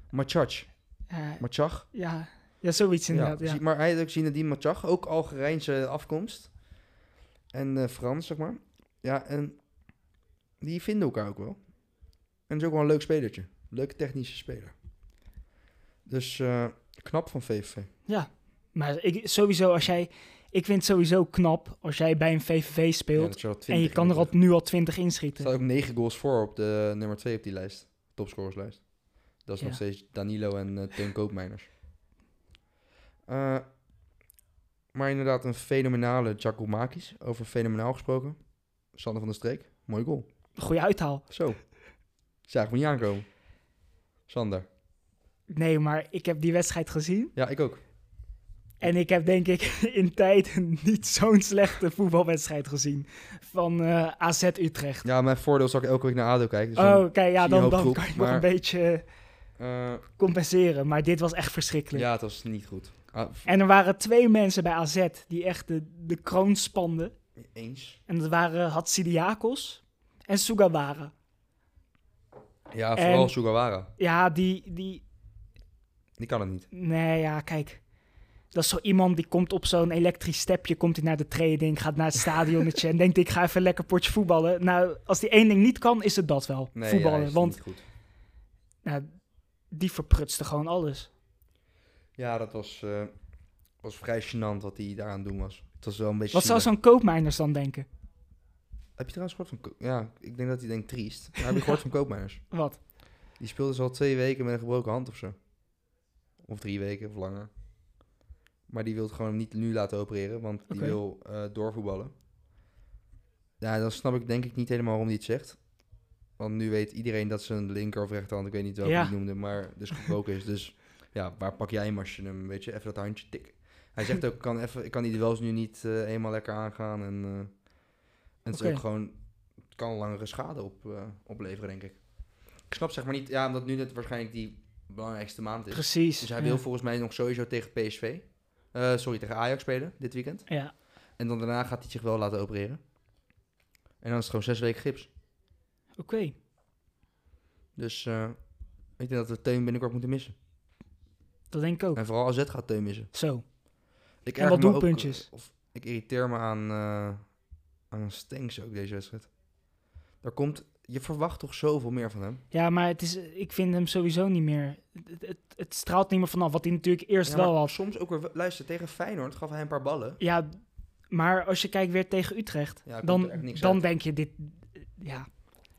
Speaker 1: Machach. Machach.
Speaker 2: eh, ja, ja, zoiets
Speaker 1: Ja,
Speaker 2: inderdaad. Ja,
Speaker 1: Zi- Maar hij heeft ook Zinedine Machach, ook Algerijnse afkomst. En eh, Frans, zeg maar. Ja, en die vinden elkaar ook wel. En is ook wel een leuk spelertje. Leuke technische speler. Dus eh, knap van VVV.
Speaker 2: Ja, maar ik, sowieso als jij... Ik vind het sowieso knap als jij bij een VVV
Speaker 1: Ja,
Speaker 2: speelt...
Speaker 1: dat je al
Speaker 2: en
Speaker 1: 20
Speaker 2: je kan er al,
Speaker 1: inmiddels-
Speaker 2: nu al 20
Speaker 1: Er
Speaker 2: inschieten.
Speaker 1: staat ook 9 goals voor op de nummer 2 op die lijst. Topscorerslijst. Dat is
Speaker 2: Ja.
Speaker 1: nog steeds Danilo en eh Teun Koopmeiners. Eh, maar inderdaad, een fenomenale Giacomakis. Over fenomenaal gesproken. Sander van der Streek, mooi goal.
Speaker 2: Goeie uithaal.
Speaker 1: Zo. Zagen we niet aankomen. Sander.
Speaker 2: Nee, maar ik heb die wedstrijd gezien.
Speaker 1: Ja, ik ook.
Speaker 2: En ik heb denk ik in tijd niet zo'n slechte voetbalwedstrijd gezien. Van eh, AZ Utrecht.
Speaker 1: Ja, mijn voordeel is dat ik elke week naar ADO kijk. Dus dan-
Speaker 2: oh, kijk, ja,
Speaker 1: zie je
Speaker 2: dan, dan
Speaker 1: hoopgroep,
Speaker 2: kan je nog
Speaker 1: maar-
Speaker 2: een beetje... eh,
Speaker 1: Eh,
Speaker 2: compenseren. Maar dit was echt verschrikkelijk.
Speaker 1: ja, het was niet goed. Ah, v-
Speaker 2: En er waren twee mensen bij AZ die echt de, de kroon spanden.
Speaker 1: eens.
Speaker 2: En dat waren Hatsidiakos en Sugawara.
Speaker 1: Ja,
Speaker 2: En-
Speaker 1: vooral Sugawara.
Speaker 2: Ja, die, die...
Speaker 1: Die kan het niet.
Speaker 2: Nee, ja, kijk. Dat is zo iemand die komt op zo'n elektrisch stepje, komt hij naar de training, gaat naar het stadionnetje en denkt ik ga even lekker potje voetballen. Nou, als die één ding niet kan, is het dat wel,
Speaker 1: Nee,
Speaker 2: voetballen.
Speaker 1: ja, is
Speaker 2: want
Speaker 1: niet goed.
Speaker 2: nou, die verprutste gewoon alles.
Speaker 1: Ja, dat was, eh, was vrij gênant wat hij daaraan doen was. Het was wel een beetje...
Speaker 2: Wat zou
Speaker 1: zielig.
Speaker 2: zo'n koopmijners dan denken?
Speaker 1: Heb je trouwens gehoord van... Ko- Ja, ik denk dat hij denkt triest. Maar heb je gehoord van Koopmeiners?
Speaker 2: Wat?
Speaker 1: Die speelde dus al twee weken met een gebroken hand of zo. Of drie weken, of langer. Maar die wil het gewoon niet nu laten opereren, want die
Speaker 2: Oké.
Speaker 1: wil eh, doorvoetballen. Ja, dan snap ik denk ik niet helemaal waarom die het zegt. Want nu weet iedereen dat ze een linker of rechterhand, ik weet niet welke
Speaker 2: Ja.
Speaker 1: die noemde, maar dus gebroken is. Dus ja, waar pak jij hem als je hem, weet je, even dat handje tik. Hij zegt ook, ik kan, even, ik kan die duels nu niet eh, helemaal lekker aangaan. En, eh, en het is
Speaker 2: Oké.
Speaker 1: ook gewoon, het kan langere schade op, eh, opleveren, denk ik. Ik snap zeg maar niet, ja, omdat nu net waarschijnlijk die belangrijkste maand is.
Speaker 2: Precies.
Speaker 1: Dus hij
Speaker 2: ja.
Speaker 1: wil volgens mij nog sowieso tegen PSV, eh, sorry, tegen Ajax spelen dit weekend.
Speaker 2: Ja.
Speaker 1: En dan daarna gaat hij zich wel laten opereren. En dan is het gewoon zes weken gips.
Speaker 2: Oké.
Speaker 1: Dus eh, ik denk dat we Teun binnenkort moeten missen.
Speaker 2: Dat denk ik ook.
Speaker 1: En vooral AZ gaat Teun missen.
Speaker 2: Zo.
Speaker 1: Ik
Speaker 2: Oh.
Speaker 1: erger
Speaker 2: En wat
Speaker 1: me ook,
Speaker 2: doelpuntjes.
Speaker 1: eh, of, ik irriteer me aan, eh aan Stenks ook deze wedstrijd. Daar komt, je verwacht toch zoveel meer van hem?
Speaker 2: Ja, maar het is, eh, ik vind hem sowieso niet meer. Het, het, het straalt niet meer vanaf wat hij natuurlijk eerst
Speaker 1: Ja,
Speaker 2: wel
Speaker 1: maar
Speaker 2: had.
Speaker 1: Soms ook weer, luister, tegen Feyenoord gaf hij een paar ballen.
Speaker 2: Ja, maar als je kijkt weer tegen Utrecht,
Speaker 1: Ja, komt er echt
Speaker 2: dan,
Speaker 1: niks
Speaker 2: dan
Speaker 1: uit.
Speaker 2: denk je dit. Ja,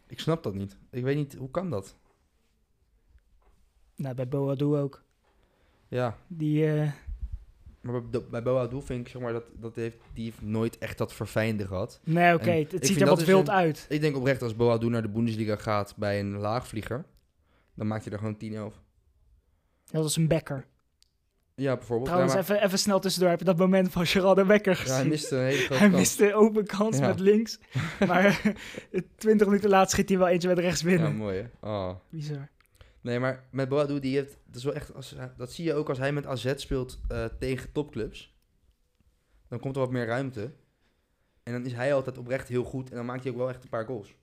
Speaker 1: Ik snap dat niet. Ik weet niet, hoe kan dat?
Speaker 2: nou, bij Boa Doe ook.
Speaker 1: Ja,
Speaker 2: Die, eh,
Speaker 1: maar bij, bij Boa Doel vind ik, zeg maar, dat, dat heeft, die heeft nooit echt dat verfijnde gehad.
Speaker 2: nee, oké,
Speaker 1: En
Speaker 2: het,
Speaker 1: ik
Speaker 2: het ziet
Speaker 1: vind
Speaker 2: er
Speaker 1: dat
Speaker 2: wat
Speaker 1: dus
Speaker 2: wild
Speaker 1: een-
Speaker 2: uit.
Speaker 1: Ik denk oprecht als Boadu naar de Bundesliga gaat bij een laagvlieger, dan maakt hij er gewoon 10, 11.
Speaker 2: Dat was een bekker.
Speaker 1: Ja, bijvoorbeeld.
Speaker 2: Trouwens,
Speaker 1: ja, maar-
Speaker 2: even, even snel tussendoor. Heb je dat moment van Gerard de Bekker
Speaker 1: ja, hij
Speaker 2: gezien?
Speaker 1: miste een hele grote
Speaker 2: hij
Speaker 1: kans.
Speaker 2: miste een open kans
Speaker 1: Ja.
Speaker 2: met links. Maar eh, twintig minuten later schiet hij wel eentje met rechts
Speaker 1: Ja,
Speaker 2: binnen.
Speaker 1: mooi hè. Oh.
Speaker 2: Bizar.
Speaker 1: Nee, maar met Boadu, die heeft, dat is wel echt, als, dat zie je ook als hij met AZ speelt eh, tegen topclubs. Dan komt er wat meer ruimte. En dan is hij altijd oprecht heel goed en dan maakt hij ook wel echt een paar goals.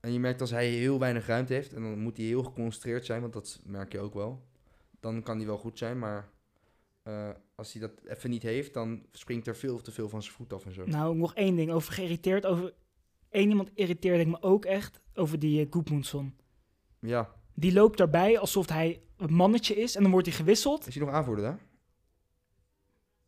Speaker 1: En je merkt als hij heel weinig ruimte heeft en dan moet hij heel geconcentreerd zijn, want dat merk je ook wel. Dan kan hij wel goed zijn, maar eh, als hij dat even niet heeft, dan springt er veel te veel van zijn voet af en zo.
Speaker 2: Nou, nog één ding over geïrriteerd. Over één iemand irriteerde ik me ook echt over die eh, Gudmundsson.
Speaker 1: Ja,
Speaker 2: Die loopt daarbij alsof hij een mannetje is en dan wordt hij gewisseld.
Speaker 1: is hij nog aanvoerder daar?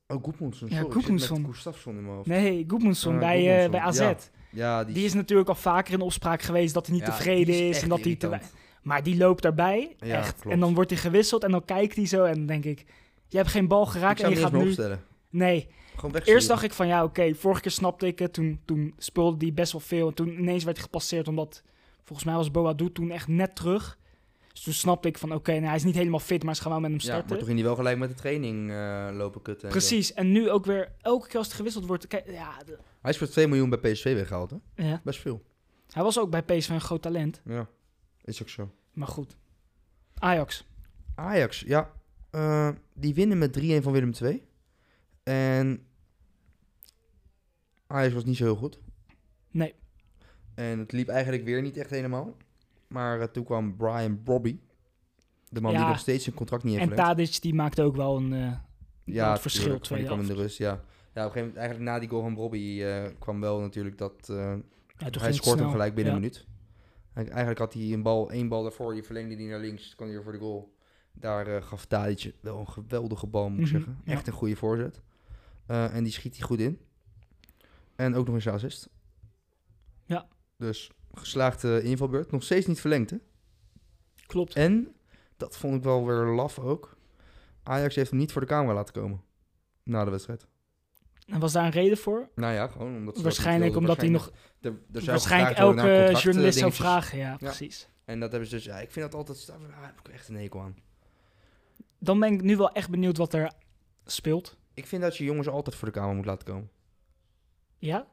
Speaker 1: Oh, Goedmoedson,
Speaker 2: Ja,
Speaker 1: sorry. Ik zit
Speaker 2: Goedmoedson.
Speaker 1: met Gustafsson in mijn hoofd.
Speaker 2: Nee, Gudmundsson
Speaker 1: Ah,
Speaker 2: bij, eh,
Speaker 1: Gudmundsson,
Speaker 2: bij AZ.
Speaker 1: ja. Ja,
Speaker 2: Die is natuurlijk al vaker in opspraak geweest dat hij niet
Speaker 1: ja,
Speaker 2: tevreden
Speaker 1: die
Speaker 2: is,
Speaker 1: echt
Speaker 2: en dat hij te
Speaker 1: irritant.
Speaker 2: wei- Maar die loopt daarbij,
Speaker 1: Ja,
Speaker 2: echt.
Speaker 1: klopt.
Speaker 2: En dan wordt hij gewisseld en dan kijkt hij zo en dan denk ik... Je hebt geen bal
Speaker 1: Ik
Speaker 2: geraakt en
Speaker 1: zou
Speaker 2: je
Speaker 1: hem eerst
Speaker 2: gaat
Speaker 1: maar
Speaker 2: nu...
Speaker 1: opstellen.
Speaker 2: Nee,
Speaker 1: Gewoon weg.
Speaker 2: eerst dacht ik van ja, oké, vorige keer snapte ik het. Toen, toen speelde hij best wel veel. En toen ineens werd hij gepasseerd, omdat volgens mij was Boadu toen echt net terug. Dus toen snapte ik van oké, nou, hij is niet helemaal fit, maar ze gaan wel met hem
Speaker 1: Ja, maar
Speaker 2: starten.
Speaker 1: toen ging hij wel gelijk met de training eh, lopen kutten. en zo.
Speaker 2: Precies, en nu ook weer elke keer als het gewisseld wordt. Kijk, ja, de-
Speaker 1: Hij is voor 2 miljoen bij PSV weggehaald, hè?
Speaker 2: ja.
Speaker 1: Best veel.
Speaker 2: Hij was ook bij PSV een groot talent,
Speaker 1: Ja, is ook zo.
Speaker 2: maar goed. Ajax,
Speaker 1: Ajax, ja. eh, die winnen met 3-1 van Willem II. En Ajax was niet zo heel goed.
Speaker 2: Nee.
Speaker 1: En het liep eigenlijk weer niet echt helemaal. Maar eh, toen kwam Brian Brobby. De man die
Speaker 2: Ja.
Speaker 1: nog steeds zijn contract niet heeft
Speaker 2: en
Speaker 1: verlengd.
Speaker 2: Tadic die maakte ook wel een eh, wel het verschil
Speaker 1: tuurlijk, maar
Speaker 2: twee
Speaker 1: die kwam in
Speaker 2: jaar.
Speaker 1: de rust, ja. Ja, op een gegeven moment, eigenlijk na die goal van Brobby eh, kwam wel natuurlijk dat... eh,
Speaker 2: Ja, toen
Speaker 1: hij
Speaker 2: ging het
Speaker 1: scoort hem
Speaker 2: snel.
Speaker 1: gelijk binnen
Speaker 2: Ja.
Speaker 1: een minuut. Hij- eigenlijk had hij een bal, één bal daarvoor, die verlengde die naar links, kwam hij weer voor de goal. Daar eh, gaf Tadic wel een geweldige bal, moet ik
Speaker 2: Mhm,
Speaker 1: zeggen.
Speaker 2: ja.
Speaker 1: Echt een goede voorzet. Eh, en die schiet hij goed in. En ook nog eens een assist.
Speaker 2: Ja.
Speaker 1: Dus geslaagde invalbeurt. Nog steeds niet verlengd, hè?
Speaker 2: Klopt.
Speaker 1: En, dat vond ik wel weer laf ook, Ajax heeft hem niet voor de camera laten komen. Na de wedstrijd.
Speaker 2: En was daar een reden voor?
Speaker 1: Nou ja, gewoon omdat ze dat
Speaker 2: Waarschijnlijk
Speaker 1: niet wilden.
Speaker 2: omdat hij nog
Speaker 1: Er- er zou
Speaker 2: Waarschijnlijk
Speaker 1: Dus gevraagd worden naar
Speaker 2: elke
Speaker 1: contract, eh,
Speaker 2: journalist zou
Speaker 1: dingetjes.
Speaker 2: vragen, ja, precies.
Speaker 1: En dat hebben ze dus, ja, ik vind dat altijd, daar daar heb ik echt een hekel aan.
Speaker 2: Dan ben ik nu wel echt benieuwd wat er speelt.
Speaker 1: Ik vind dat je jongens altijd voor de kamer moet laten komen.
Speaker 2: Ja?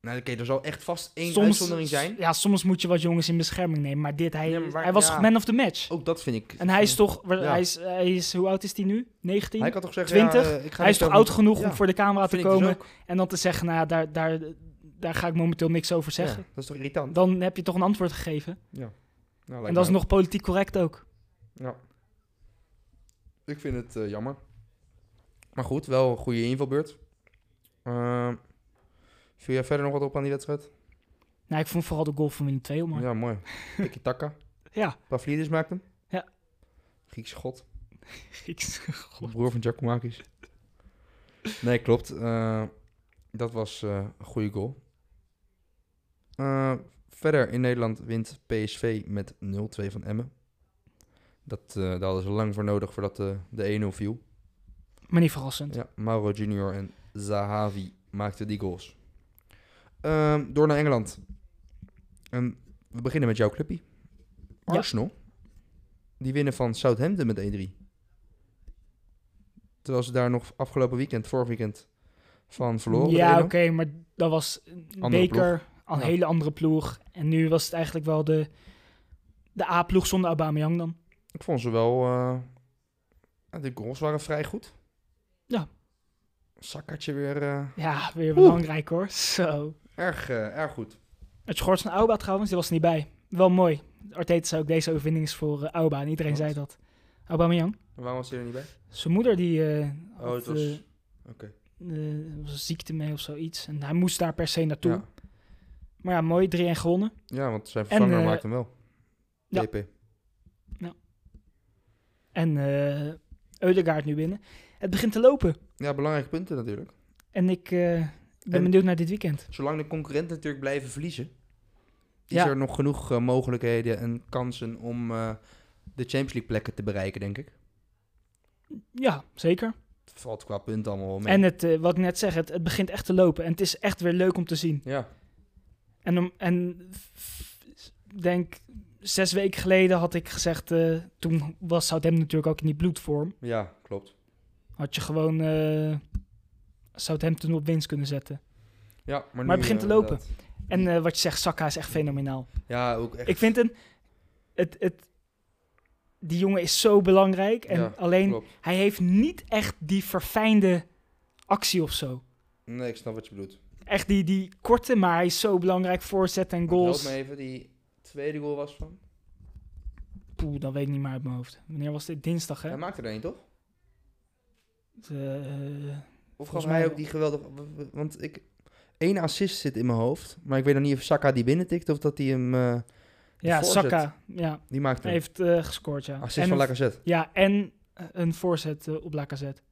Speaker 1: Nou, oké, er zal echt vast één
Speaker 2: Soms-
Speaker 1: uitzondering zijn.
Speaker 2: Ja, soms moet je wat jongens in bescherming nemen. Maar dit, hij,
Speaker 1: Ja, maar waar-
Speaker 2: hij was
Speaker 1: ja.
Speaker 2: toch man of the match?
Speaker 1: Ook dat vind ik...
Speaker 2: En hij is toch... wa-
Speaker 1: Ja.
Speaker 2: Hij is, hij is, hoe oud is hij nu? 19?
Speaker 1: Hij
Speaker 2: Hij,
Speaker 1: kan toch zeggen...
Speaker 2: 20?
Speaker 1: ja, eh, ik ga
Speaker 2: is
Speaker 1: dit
Speaker 2: toch
Speaker 1: ook
Speaker 2: oud
Speaker 1: niet-
Speaker 2: genoeg
Speaker 1: Ja,
Speaker 2: om voor de camera te
Speaker 1: vind ik dus
Speaker 2: komen
Speaker 1: ook.
Speaker 2: en dan te zeggen, nou, daar, daar, daar ga ik momenteel niks over zeggen.
Speaker 1: Ja, dat is toch irritant?
Speaker 2: Dan heb je toch een antwoord gegeven.
Speaker 1: Nou, lijkt
Speaker 2: en dat is
Speaker 1: mij
Speaker 2: nog politiek correct ook.
Speaker 1: ook. Ja. Ik vind het eh, jammer. Maar goed, wel een goede invalbeurt. Ehm viel jij verder nog wat op aan die wedstrijd?
Speaker 2: Nou, ik vond vooral de goal van Willem II heel mooi.
Speaker 1: Ja, mooi. Tiki Taka.
Speaker 2: Ja.
Speaker 1: Pavlidis maakt hem.
Speaker 2: Ja.
Speaker 1: Griekse god.
Speaker 2: Grieks. God.
Speaker 1: Broer van Giacomakis. nee, klopt. Eh, dat was eh, een goede goal. Eh, verder in Nederland wint PSV met 0-2 van Emmen. Dat, eh, daar hadden ze lang voor nodig voordat eh, de 1-0 viel.
Speaker 2: Maar niet verrassend.
Speaker 1: Ja, Mauro Junior en Zahavi maakten die goals. Ehm, door naar Engeland. En we beginnen met jouw clubje.
Speaker 2: Ja.
Speaker 1: Arsenal. Die winnen van Southampton met 1-3. Terwijl ze daar nog afgelopen weekend, vorig weekend, van verloren. met
Speaker 2: ja,
Speaker 1: 1-0.
Speaker 2: oké, maar dat was een
Speaker 1: Andere
Speaker 2: beker, een
Speaker 1: Ja.
Speaker 2: hele andere ploeg. En nu was het eigenlijk wel de, de A-ploeg zonder Aubameyang dan.
Speaker 1: Ik vond ze wel... eh, ja, de goals waren vrij goed.
Speaker 2: Ja.
Speaker 1: Sakkertje weer eh,
Speaker 2: Ja, weer
Speaker 1: Oeh.
Speaker 2: belangrijk hoor. Zo.
Speaker 1: erg, eh, erg goed.
Speaker 2: Het schort van Auba trouwens, die was er niet bij. Wel mooi. Arteta zei ook deze overwinning is voor eh, Auba en iedereen
Speaker 1: Wat?
Speaker 2: zei dat. Aubameyang.
Speaker 1: Waarom was hij er niet bij?
Speaker 2: Zijn moeder die eh, had,
Speaker 1: Oh, het was...
Speaker 2: eh, eh, was een ziekte mee of zoiets. En hij moest daar per se naartoe.
Speaker 1: ja.
Speaker 2: Maar ja, mooi, 3-1 gewonnen.
Speaker 1: Ja, want zijn vervanger
Speaker 2: eh,
Speaker 1: maakt hem wel.
Speaker 2: ja.
Speaker 1: DP.
Speaker 2: En eh Eudegaard nu binnen. Het begint te lopen.
Speaker 1: Ja, belangrijke punten natuurlijk.
Speaker 2: En ik eh, ik ben
Speaker 1: En-
Speaker 2: benieuwd naar dit weekend.
Speaker 1: Zolang de concurrenten natuurlijk blijven verliezen, is
Speaker 2: Ja.
Speaker 1: er nog genoeg eh, mogelijkheden en kansen om eh, de Champions League plekken te bereiken, denk ik.
Speaker 2: Ja, zeker.
Speaker 1: Het valt qua punten allemaal wel mee.
Speaker 2: En het, eh, wat ik net zeg, het, het begint echt te lopen. En het is echt weer leuk om te zien.
Speaker 1: ja,
Speaker 2: En, om, en f- denk, zes weken geleden had ik gezegd... eh, toen was Southampton natuurlijk ook in die bloedvorm.
Speaker 1: ja, klopt.
Speaker 2: Had je gewoon eh, Southampton op winst kunnen zetten.
Speaker 1: Ja, maar, nu,
Speaker 2: het begint te
Speaker 1: eh,
Speaker 2: lopen.
Speaker 1: inderdaad.
Speaker 2: En eh, wat je zegt, Saka is echt fenomenaal.
Speaker 1: Ja, ook echt.
Speaker 2: Ik vind hem... Het, het, die jongen is zo belangrijk. En
Speaker 1: Ja,
Speaker 2: alleen,
Speaker 1: klopt.
Speaker 2: hij heeft niet echt die verfijnde actie of zo.
Speaker 1: Nee, ik snap wat je bedoelt.
Speaker 2: Echt die, die korte, maar hij is zo belangrijk. Voorzet en
Speaker 1: Help
Speaker 2: goals.
Speaker 1: me even, die tweede goal was van.
Speaker 2: Poeh, dat weet ik niet meer uit mijn hoofd. Wanneer was dit? Dinsdag, hè?
Speaker 1: Hij maakte er één, toch?
Speaker 2: Eh, eh,
Speaker 1: Of gaf
Speaker 2: Volgens
Speaker 1: hij
Speaker 2: mij
Speaker 1: ook die geweldige... w- w- Want ik... één assist zit in mijn hoofd, maar ik weet nog niet of Saka die binnentikt of dat hij hem... eh,
Speaker 2: ja,
Speaker 1: voorzet.
Speaker 2: Saka. Ja,
Speaker 1: die maakte
Speaker 2: hij
Speaker 1: hem.
Speaker 2: heeft eh, gescoord, ja.
Speaker 1: Assist
Speaker 2: en
Speaker 1: van
Speaker 2: een-
Speaker 1: Lacazette.
Speaker 2: Ja, en een voorzet eh, op Lacazette.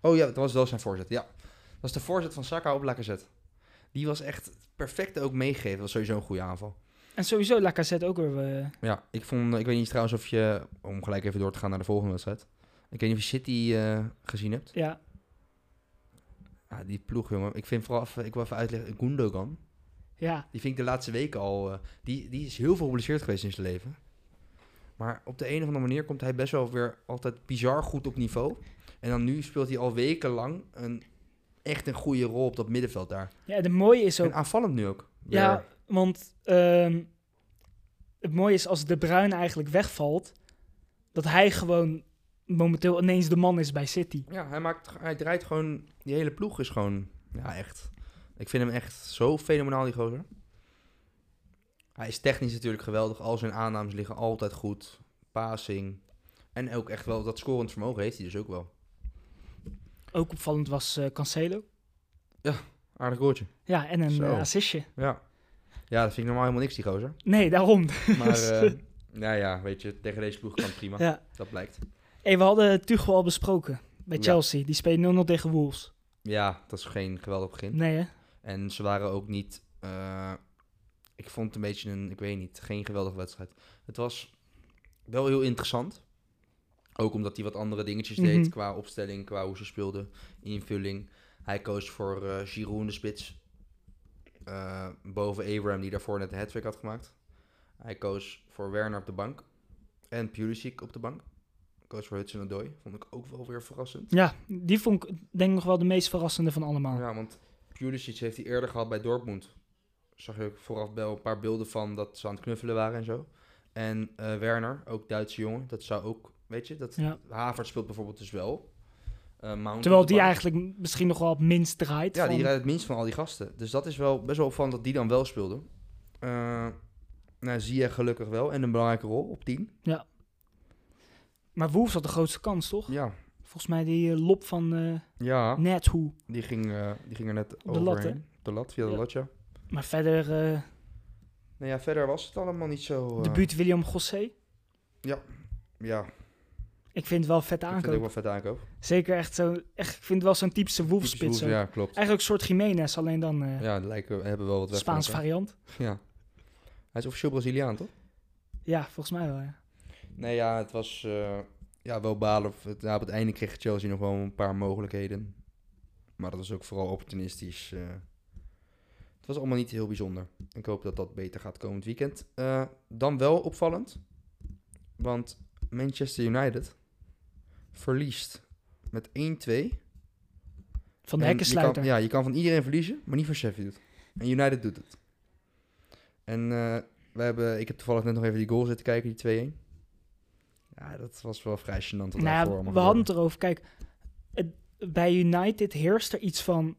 Speaker 1: Oh ja, dat was wel zijn voorzet, ja. Dat was de voorzet van Saka op Lacazette. Die was echt perfect ook meegegeven. Dat was sowieso een goede aanval.
Speaker 2: En sowieso Lacazette ook weer... eh,
Speaker 1: Ja, ik vond... Ik weet niet trouwens of je... Om gelijk even door te gaan naar de volgende wedstrijd. Ik weet niet of je City eh, gezien hebt.
Speaker 2: ja,
Speaker 1: Ah, die ploeg, jongen. Ik vind vooral even... Ik wil even uitleggen. Gundogan.
Speaker 2: ja.
Speaker 1: Die vind ik de laatste weken al... eh, die, die is heel veel geblesseerd geweest in zijn leven. Maar op de een of andere manier komt hij best wel weer altijd bizar goed op niveau. En dan nu speelt hij al wekenlang een, echt een goede rol op dat middenveld daar.
Speaker 2: Ja, de mooie is ook...
Speaker 1: En aanvallend nu ook.
Speaker 2: Ja,
Speaker 1: Weer.
Speaker 2: want ehm, het mooie is als De Bruyne eigenlijk wegvalt... dat hij gewoon momenteel ineens de man is bij City.
Speaker 1: ja hij, maakt, hij draait gewoon... Die hele ploeg is gewoon... Ja, echt. Ik vind hem echt zo fenomenaal, die gozer. Hij is technisch natuurlijk geweldig. Al zijn aannames liggen altijd goed. Passing. En ook echt wel dat scorend vermogen heeft hij dus ook wel.
Speaker 2: Ook opvallend was eh, Cancelo.
Speaker 1: Aardig goaltje.
Speaker 2: Ja, en een
Speaker 1: Zo.
Speaker 2: eh, assistje.
Speaker 1: Ja. Ja, dat vind ik normaal helemaal niks, die gozer.
Speaker 2: Nee, daarom.
Speaker 1: Maar, eh nou ja, weet je, tegen deze ploeg kan prima.
Speaker 2: Ja.
Speaker 1: Dat blijkt.
Speaker 2: Hey, we hadden Tuchel al besproken bij
Speaker 1: Ja.
Speaker 2: Chelsea. Die speelde 0-0 tegen Wolves.
Speaker 1: Ja, dat is geen geweldig begin.
Speaker 2: Nee, hè?
Speaker 1: En ze waren ook niet. eh, ik vond het een beetje een. Ik weet niet. Geen geweldige wedstrijd. Het was wel heel interessant. Ook omdat hij wat andere dingetjes
Speaker 2: Mhm.
Speaker 1: deed. Qua opstelling, qua hoe ze speelden. Invulling. Hij koos voor eh Giroud in de spits. Eh, boven Abraham, die daarvoor net een hat had gemaakt. Hij koos voor Werner op de bank. En Pulisic op de bank. Koos voor Hudson Odoi. Vond ik ook wel weer verrassend.
Speaker 2: Ja, die vond ik denk ik nog wel de meest verrassende van allemaal.
Speaker 1: Ja, want Pulisic heeft hij eerder gehad bij Dortmund. Zag ik vooraf wel een paar beelden van dat ze aan het knuffelen waren en zo. En eh, Werner, ook Duitse jongen, dat zou ook, weet je, dat
Speaker 2: Ja.
Speaker 1: Havert speelt bijvoorbeeld dus wel. Eh, Mount
Speaker 2: Terwijl
Speaker 1: op de
Speaker 2: die
Speaker 1: bank.
Speaker 2: eigenlijk m- misschien nog wel het minst draait.
Speaker 1: Ja, die
Speaker 2: van-
Speaker 1: rijdt het minst van al die gasten. Dus dat is wel best wel opvallend dat die dan wel speelde. Eh nou, zie je gelukkig wel. En een belangrijke rol op 10.
Speaker 2: Maar Wolves had de grootste kans, toch?
Speaker 1: Ja,
Speaker 2: Volgens mij die eh, lop van eh
Speaker 1: ja
Speaker 2: net hoe.
Speaker 1: die, ging, eh, die ging er net
Speaker 2: de lat,
Speaker 1: overheen. de lat, via de
Speaker 2: Ja.
Speaker 1: lat, ja.
Speaker 2: Maar verder eh
Speaker 1: Nou ja, verder was het allemaal niet zo... eh,
Speaker 2: de buurt William Gossé.
Speaker 1: Ja, ik
Speaker 2: Ik vind het wel een
Speaker 1: vind
Speaker 2: vette
Speaker 1: het ook
Speaker 2: aankoop.
Speaker 1: wel vet aankoop.
Speaker 2: Zeker echt zo. Echt, ik vind het wel zo'n typische Wolves
Speaker 1: Typisch
Speaker 2: spits.
Speaker 1: Wolves,
Speaker 2: ook.
Speaker 1: Ja, klopt.
Speaker 2: Eigenlijk een soort Jiménez, alleen dan eh
Speaker 1: Ja, die lijken, hebben wel wat weg. van
Speaker 2: Spaans
Speaker 1: elkaar.
Speaker 2: variant.
Speaker 1: Ja. Hij is officieel Braziliaan, toch?
Speaker 2: Ja, volgens mij wel. Ja.
Speaker 1: Nee, ja, het was eh, ja, wel balen. Of het- ja, op het einde kreeg Chelsea nog wel een paar mogelijkheden. Maar dat was ook vooral opportunistisch. eh. Het was allemaal niet heel bijzonder. Ik hoop dat dat beter gaat komend weekend. Eh, dan wel opvallend. Want Manchester United verliest met 1-2.
Speaker 2: Van de
Speaker 1: En Je
Speaker 2: hekkensluiter.
Speaker 1: kan, ja, je kan van iedereen verliezen, maar niet van Sheffield. En United doet het. En eh, we hebben, ik heb toevallig net nog even die goal zitten kijken, die 2-1. Ja, dat was wel vrij gênant. wat
Speaker 2: Nou ja,
Speaker 1: daarvoor
Speaker 2: we
Speaker 1: allemaal
Speaker 2: hadden
Speaker 1: gebeurde.
Speaker 2: het erover. Kijk, het- bij United heerst er iets van.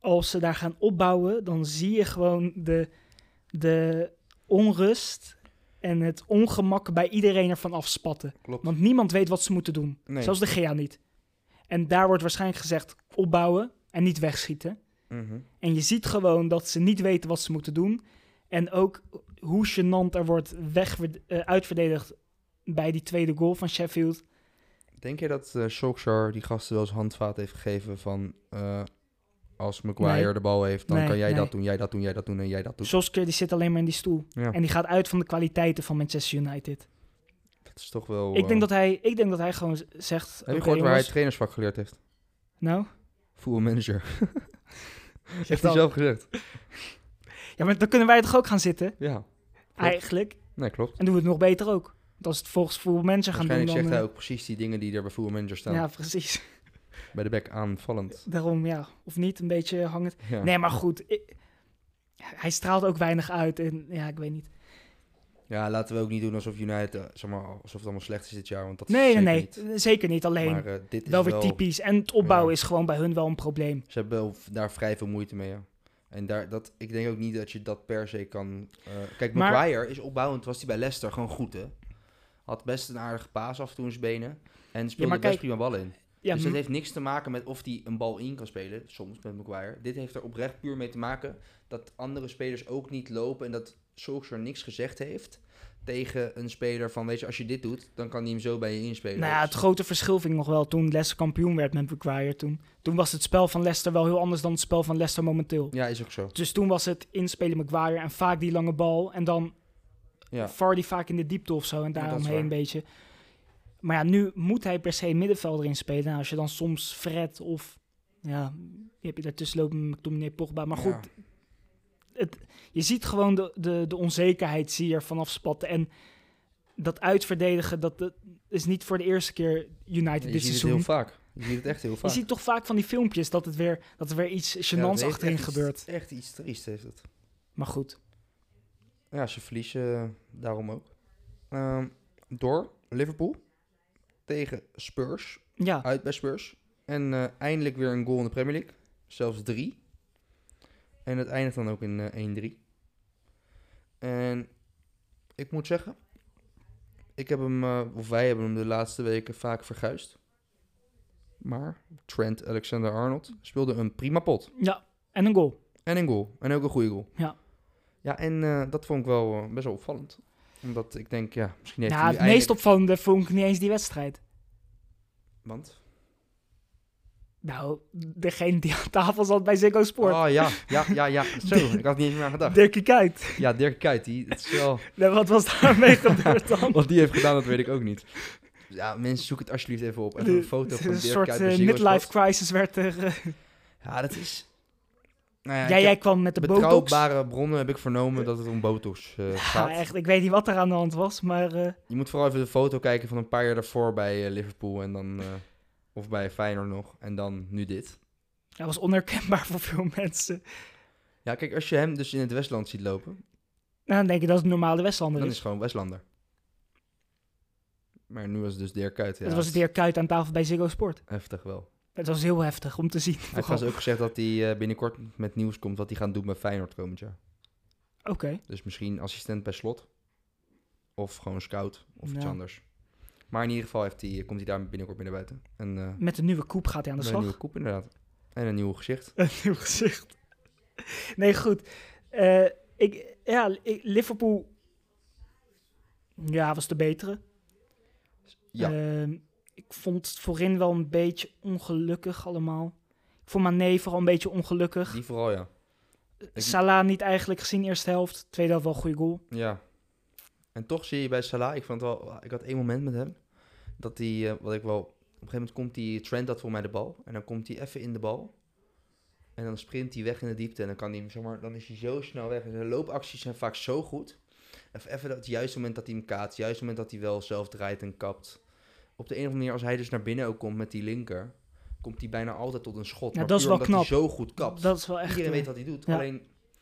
Speaker 2: Als ze daar gaan opbouwen, dan zie je gewoon de, de onrust en het ongemak bij iedereen ervan afspatten.
Speaker 1: Klopt.
Speaker 2: Want niemand weet wat ze moeten doen.
Speaker 1: Nee.
Speaker 2: Zelfs de GEA niet. En daar wordt waarschijnlijk gezegd opbouwen en niet wegschieten.
Speaker 1: Mhm.
Speaker 2: En je ziet gewoon dat ze niet weten wat ze moeten doen. En ook hoe gênant er wordt weg, eh, uitverdedigd bij die tweede goal van Sheffield.
Speaker 1: Denk je dat eh Solskjaer die gasten wel eens handvaat heeft gegeven van... eh, als Maguire
Speaker 2: Nee.
Speaker 1: de bal heeft, dan
Speaker 2: Nee,
Speaker 1: kan jij
Speaker 2: nee.
Speaker 1: dat doen, jij dat doen, jij dat doen en jij dat doen.
Speaker 2: Solskjaer die zit alleen maar in die stoel.
Speaker 1: Ja. Oh,
Speaker 2: En die gaat uit van de kwaliteiten van Manchester United.
Speaker 1: Dat is toch wel...
Speaker 2: ik, denk
Speaker 1: eh,
Speaker 2: dat hij, ik denk dat hij gewoon z- zegt...
Speaker 1: Heb je
Speaker 2: oké,
Speaker 1: gehoord waar hij het
Speaker 2: jongens,
Speaker 1: trainersvak geleerd heeft?
Speaker 2: Nou?
Speaker 1: Voetbalmanager. manager.
Speaker 2: Zegt
Speaker 1: heeft hij
Speaker 2: al-
Speaker 1: zelf gezegd.
Speaker 2: Ja, maar dan kunnen wij toch ook gaan zitten?
Speaker 1: Ja,
Speaker 2: Eigenlijk.
Speaker 1: nee, klopt.
Speaker 2: En doen we het nog beter ook. Want als het volgens voetbalmanager gaan doen,
Speaker 1: Waarschijnlijk
Speaker 2: dan...
Speaker 1: zegt hij
Speaker 2: eh,
Speaker 1: ook precies die dingen die er bij Full Manager staan.
Speaker 2: Ja, precies.
Speaker 1: Bij de bek aanvallend.
Speaker 2: Daarom, ja. Of niet, een beetje hangend.
Speaker 1: Ja.
Speaker 2: Nee, maar goed. ik- hij straalt ook weinig uit. En ja, ik weet niet.
Speaker 1: ja, laten we ook niet doen alsof United, eh, zeg maar, alsof het allemaal slecht is dit jaar. Want dat is
Speaker 2: Nee, nee,
Speaker 1: zeker
Speaker 2: nee.
Speaker 1: niet.
Speaker 2: Zeker niet. Alleen,
Speaker 1: Maar eh, dit is
Speaker 2: wel weer typisch. En het opbouwen is gewoon bij hun wel een probleem.
Speaker 1: Ze hebben wel v- daar vrij veel moeite mee, ja. En daar, dat, ik denk ook niet dat je dat per se kan... eh, kijk,
Speaker 2: Maar-
Speaker 1: Maguire is opbouwend, was hij bij Leicester gewoon goed, hè. Had best een aardige paas af en toe in zijn benen. En speelde
Speaker 2: maar
Speaker 1: best
Speaker 2: kijk-
Speaker 1: prima bal in.
Speaker 2: Ja, mhm.
Speaker 1: dus
Speaker 2: m-
Speaker 1: dat heeft niks te maken met of hij een bal in kan spelen, soms met Maguire. Dit heeft er oprecht puur mee te maken dat andere spelers ook niet lopen en dat Solskjaer niks gezegd heeft tegen een speler van, weet je, als je dit doet, dan kan hij hem zo bij je inspelen.
Speaker 2: Nou ja, het
Speaker 1: Dus-
Speaker 2: grote verschil vind ik nog wel toen Leicester kampioen werd met Maguire toen. Toen was het spel van Leicester wel heel anders dan het spel van Leicester momenteel.
Speaker 1: ja, is ook zo.
Speaker 2: Dus toen was het inspelen Maguire en vaak die lange bal en dan
Speaker 1: Ja.
Speaker 2: Vardy vaak in de diepte of zo en
Speaker 1: dat is
Speaker 2: daaromheen
Speaker 1: waar.
Speaker 2: een beetje. Maar ja, nu moet hij per se middenvelder inspelen. Nou, als je dan soms Fred of ja, wie heb je daartussen lopen met McTominay Pogba. Maar goed,
Speaker 1: Ja.
Speaker 2: het, je ziet gewoon de, de, de onzekerheid zie je er vanaf spatten. En dat uitverdedigen, dat, dat is niet voor de eerste keer United
Speaker 1: Ja, je ziet
Speaker 2: dit
Speaker 1: het heel
Speaker 2: seizoen.
Speaker 1: vaak. Je ziet het echt heel
Speaker 2: Je
Speaker 1: vaak.
Speaker 2: ziet toch vaak van die filmpjes dat, het weer, dat er weer iets
Speaker 1: Ja, dat
Speaker 2: gênants
Speaker 1: heeft
Speaker 2: achterin
Speaker 1: echt iets-
Speaker 2: gebeurt.
Speaker 1: echt iets triest heeft het.
Speaker 2: Maar goed,
Speaker 1: Ja, ze verliezen eh, daarom ook. Ehm, door Liverpool tegen Spurs.
Speaker 2: ja,
Speaker 1: Uit bij Spurs. En eh, eindelijk weer een goal in de Premier League. Zelfs drie. En het eindigt dan ook in eh, 1-3. En ik moet zeggen, ik heb hem, eh, of wij hebben hem de laatste weken vaak verguisd. Maar Trent Alexander-Arnold speelde een prima pot.
Speaker 2: ja, en een goal.
Speaker 1: En een goal. En ook een goede goal.
Speaker 2: Ja.
Speaker 1: Ja, en eh, dat vond ik wel eh, best wel opvallend. Omdat ik denk, ja, misschien heeft
Speaker 2: Ja,
Speaker 1: hij
Speaker 2: het
Speaker 1: nu
Speaker 2: meest
Speaker 1: eindelijk-
Speaker 2: opvallende vond ik niet eens die wedstrijd.
Speaker 1: Want?
Speaker 2: Nou, degene die aan tafel zat bij Ziggo Sport.
Speaker 1: Oh ja, ja, ja, ja. Zo, ik had niet eens meer aan gedacht.
Speaker 2: Dirkie Kuyt.
Speaker 1: Ja, Dirk Kuyt, die, het is wel...
Speaker 2: Nou, wat was daarmee gebeurd dan?
Speaker 1: Wat die heeft gedaan, dat weet ik ook niet. Ja, mensen, zoek het alsjeblieft even op. Even een foto van
Speaker 2: een
Speaker 1: Dirk
Speaker 2: soort
Speaker 1: Kuyt
Speaker 2: eh,
Speaker 1: bij Ziggo
Speaker 2: midlife
Speaker 1: Sport.
Speaker 2: crisis werd er. eh,
Speaker 1: Ja, dat is... Nou ja,
Speaker 2: ja,
Speaker 1: ik
Speaker 2: jij
Speaker 1: heb
Speaker 2: kwam met de botox.
Speaker 1: betrouwbare bronnen heb ik vernomen dat het om botox eh, gaat.
Speaker 2: Ja, echt, ik weet niet wat er aan de hand was, maar eh,
Speaker 1: Je moet vooral even de foto kijken van een paar jaar daarvoor bij eh, Liverpool en dan... eh, of bij Feyenoord nog. En dan nu dit.
Speaker 2: Hij was onherkenbaar voor veel mensen.
Speaker 1: Ja, kijk, als je hem dus in het Westland ziet lopen,
Speaker 2: Nou, dan denk je dat het een normale
Speaker 1: dan
Speaker 2: Westlander
Speaker 1: is
Speaker 2: is.
Speaker 1: het gewoon Westlander. Maar nu was het dus Dirk Kuyt. Ja,
Speaker 2: Het was het Dirk Kuyt aan tafel bij Ziggo Sport.
Speaker 1: Heftig wel.
Speaker 2: Het was heel heftig om te zien.
Speaker 1: Hij heeft
Speaker 2: vooral.
Speaker 1: trouwens ook gezegd dat hij eh, binnenkort met nieuws komt wat hij gaan doen bij Feyenoord komend jaar.
Speaker 2: Oké,
Speaker 1: Dus misschien assistent bij slot. Of gewoon scout of iets
Speaker 2: Ja.
Speaker 1: anders. Maar in ieder geval heeft hij, komt hij daar binnenkort binnen buiten. En eh,
Speaker 2: met de nieuwe koep gaat hij aan
Speaker 1: met
Speaker 2: de
Speaker 1: een
Speaker 2: slag.
Speaker 1: nieuwe koep inderdaad. En een nieuw gezicht.
Speaker 2: Een nieuw gezicht. Nee, goed. Eh, ik, ja, ik- Liverpool... Ja, was de betere.
Speaker 1: Ja.
Speaker 2: Ehm, ik vond het voorin wel een beetje ongelukkig allemaal. Ik vond Mané vooral een beetje ongelukkig.
Speaker 1: Die vooral, ja. ik-
Speaker 2: Salah niet eigenlijk gezien eerste helft. Tweede helft wel een goede goal.
Speaker 1: Ja. En toch zie je bij Salah, ik, vond wel, ik had één moment met hem, dat hij, eh, wat ik wel, op een gegeven moment komt die Trent dat voor mij de bal, en dan komt hij even in de bal, en dan sprint hij weg in de diepte, en dan kan hij, zeg maar, dan is hij zo snel weg. En zijn loopacties zijn vaak zo goed. Even, even dat juiste moment dat hij hem kaatst, juist moment dat hij wel zelf draait en kapt. Op de een of andere manier, als hij dus naar binnen ook komt met die linker, komt hij bijna altijd tot een schot.
Speaker 2: Ja,
Speaker 1: maar
Speaker 2: dat is
Speaker 1: puur
Speaker 2: wel
Speaker 1: omdat hij zo goed kapt.
Speaker 2: Dat is wel echt...
Speaker 1: Iedereen
Speaker 2: eh,
Speaker 1: weet wat hij doet.
Speaker 2: ja. Mhm.
Speaker 1: Alleen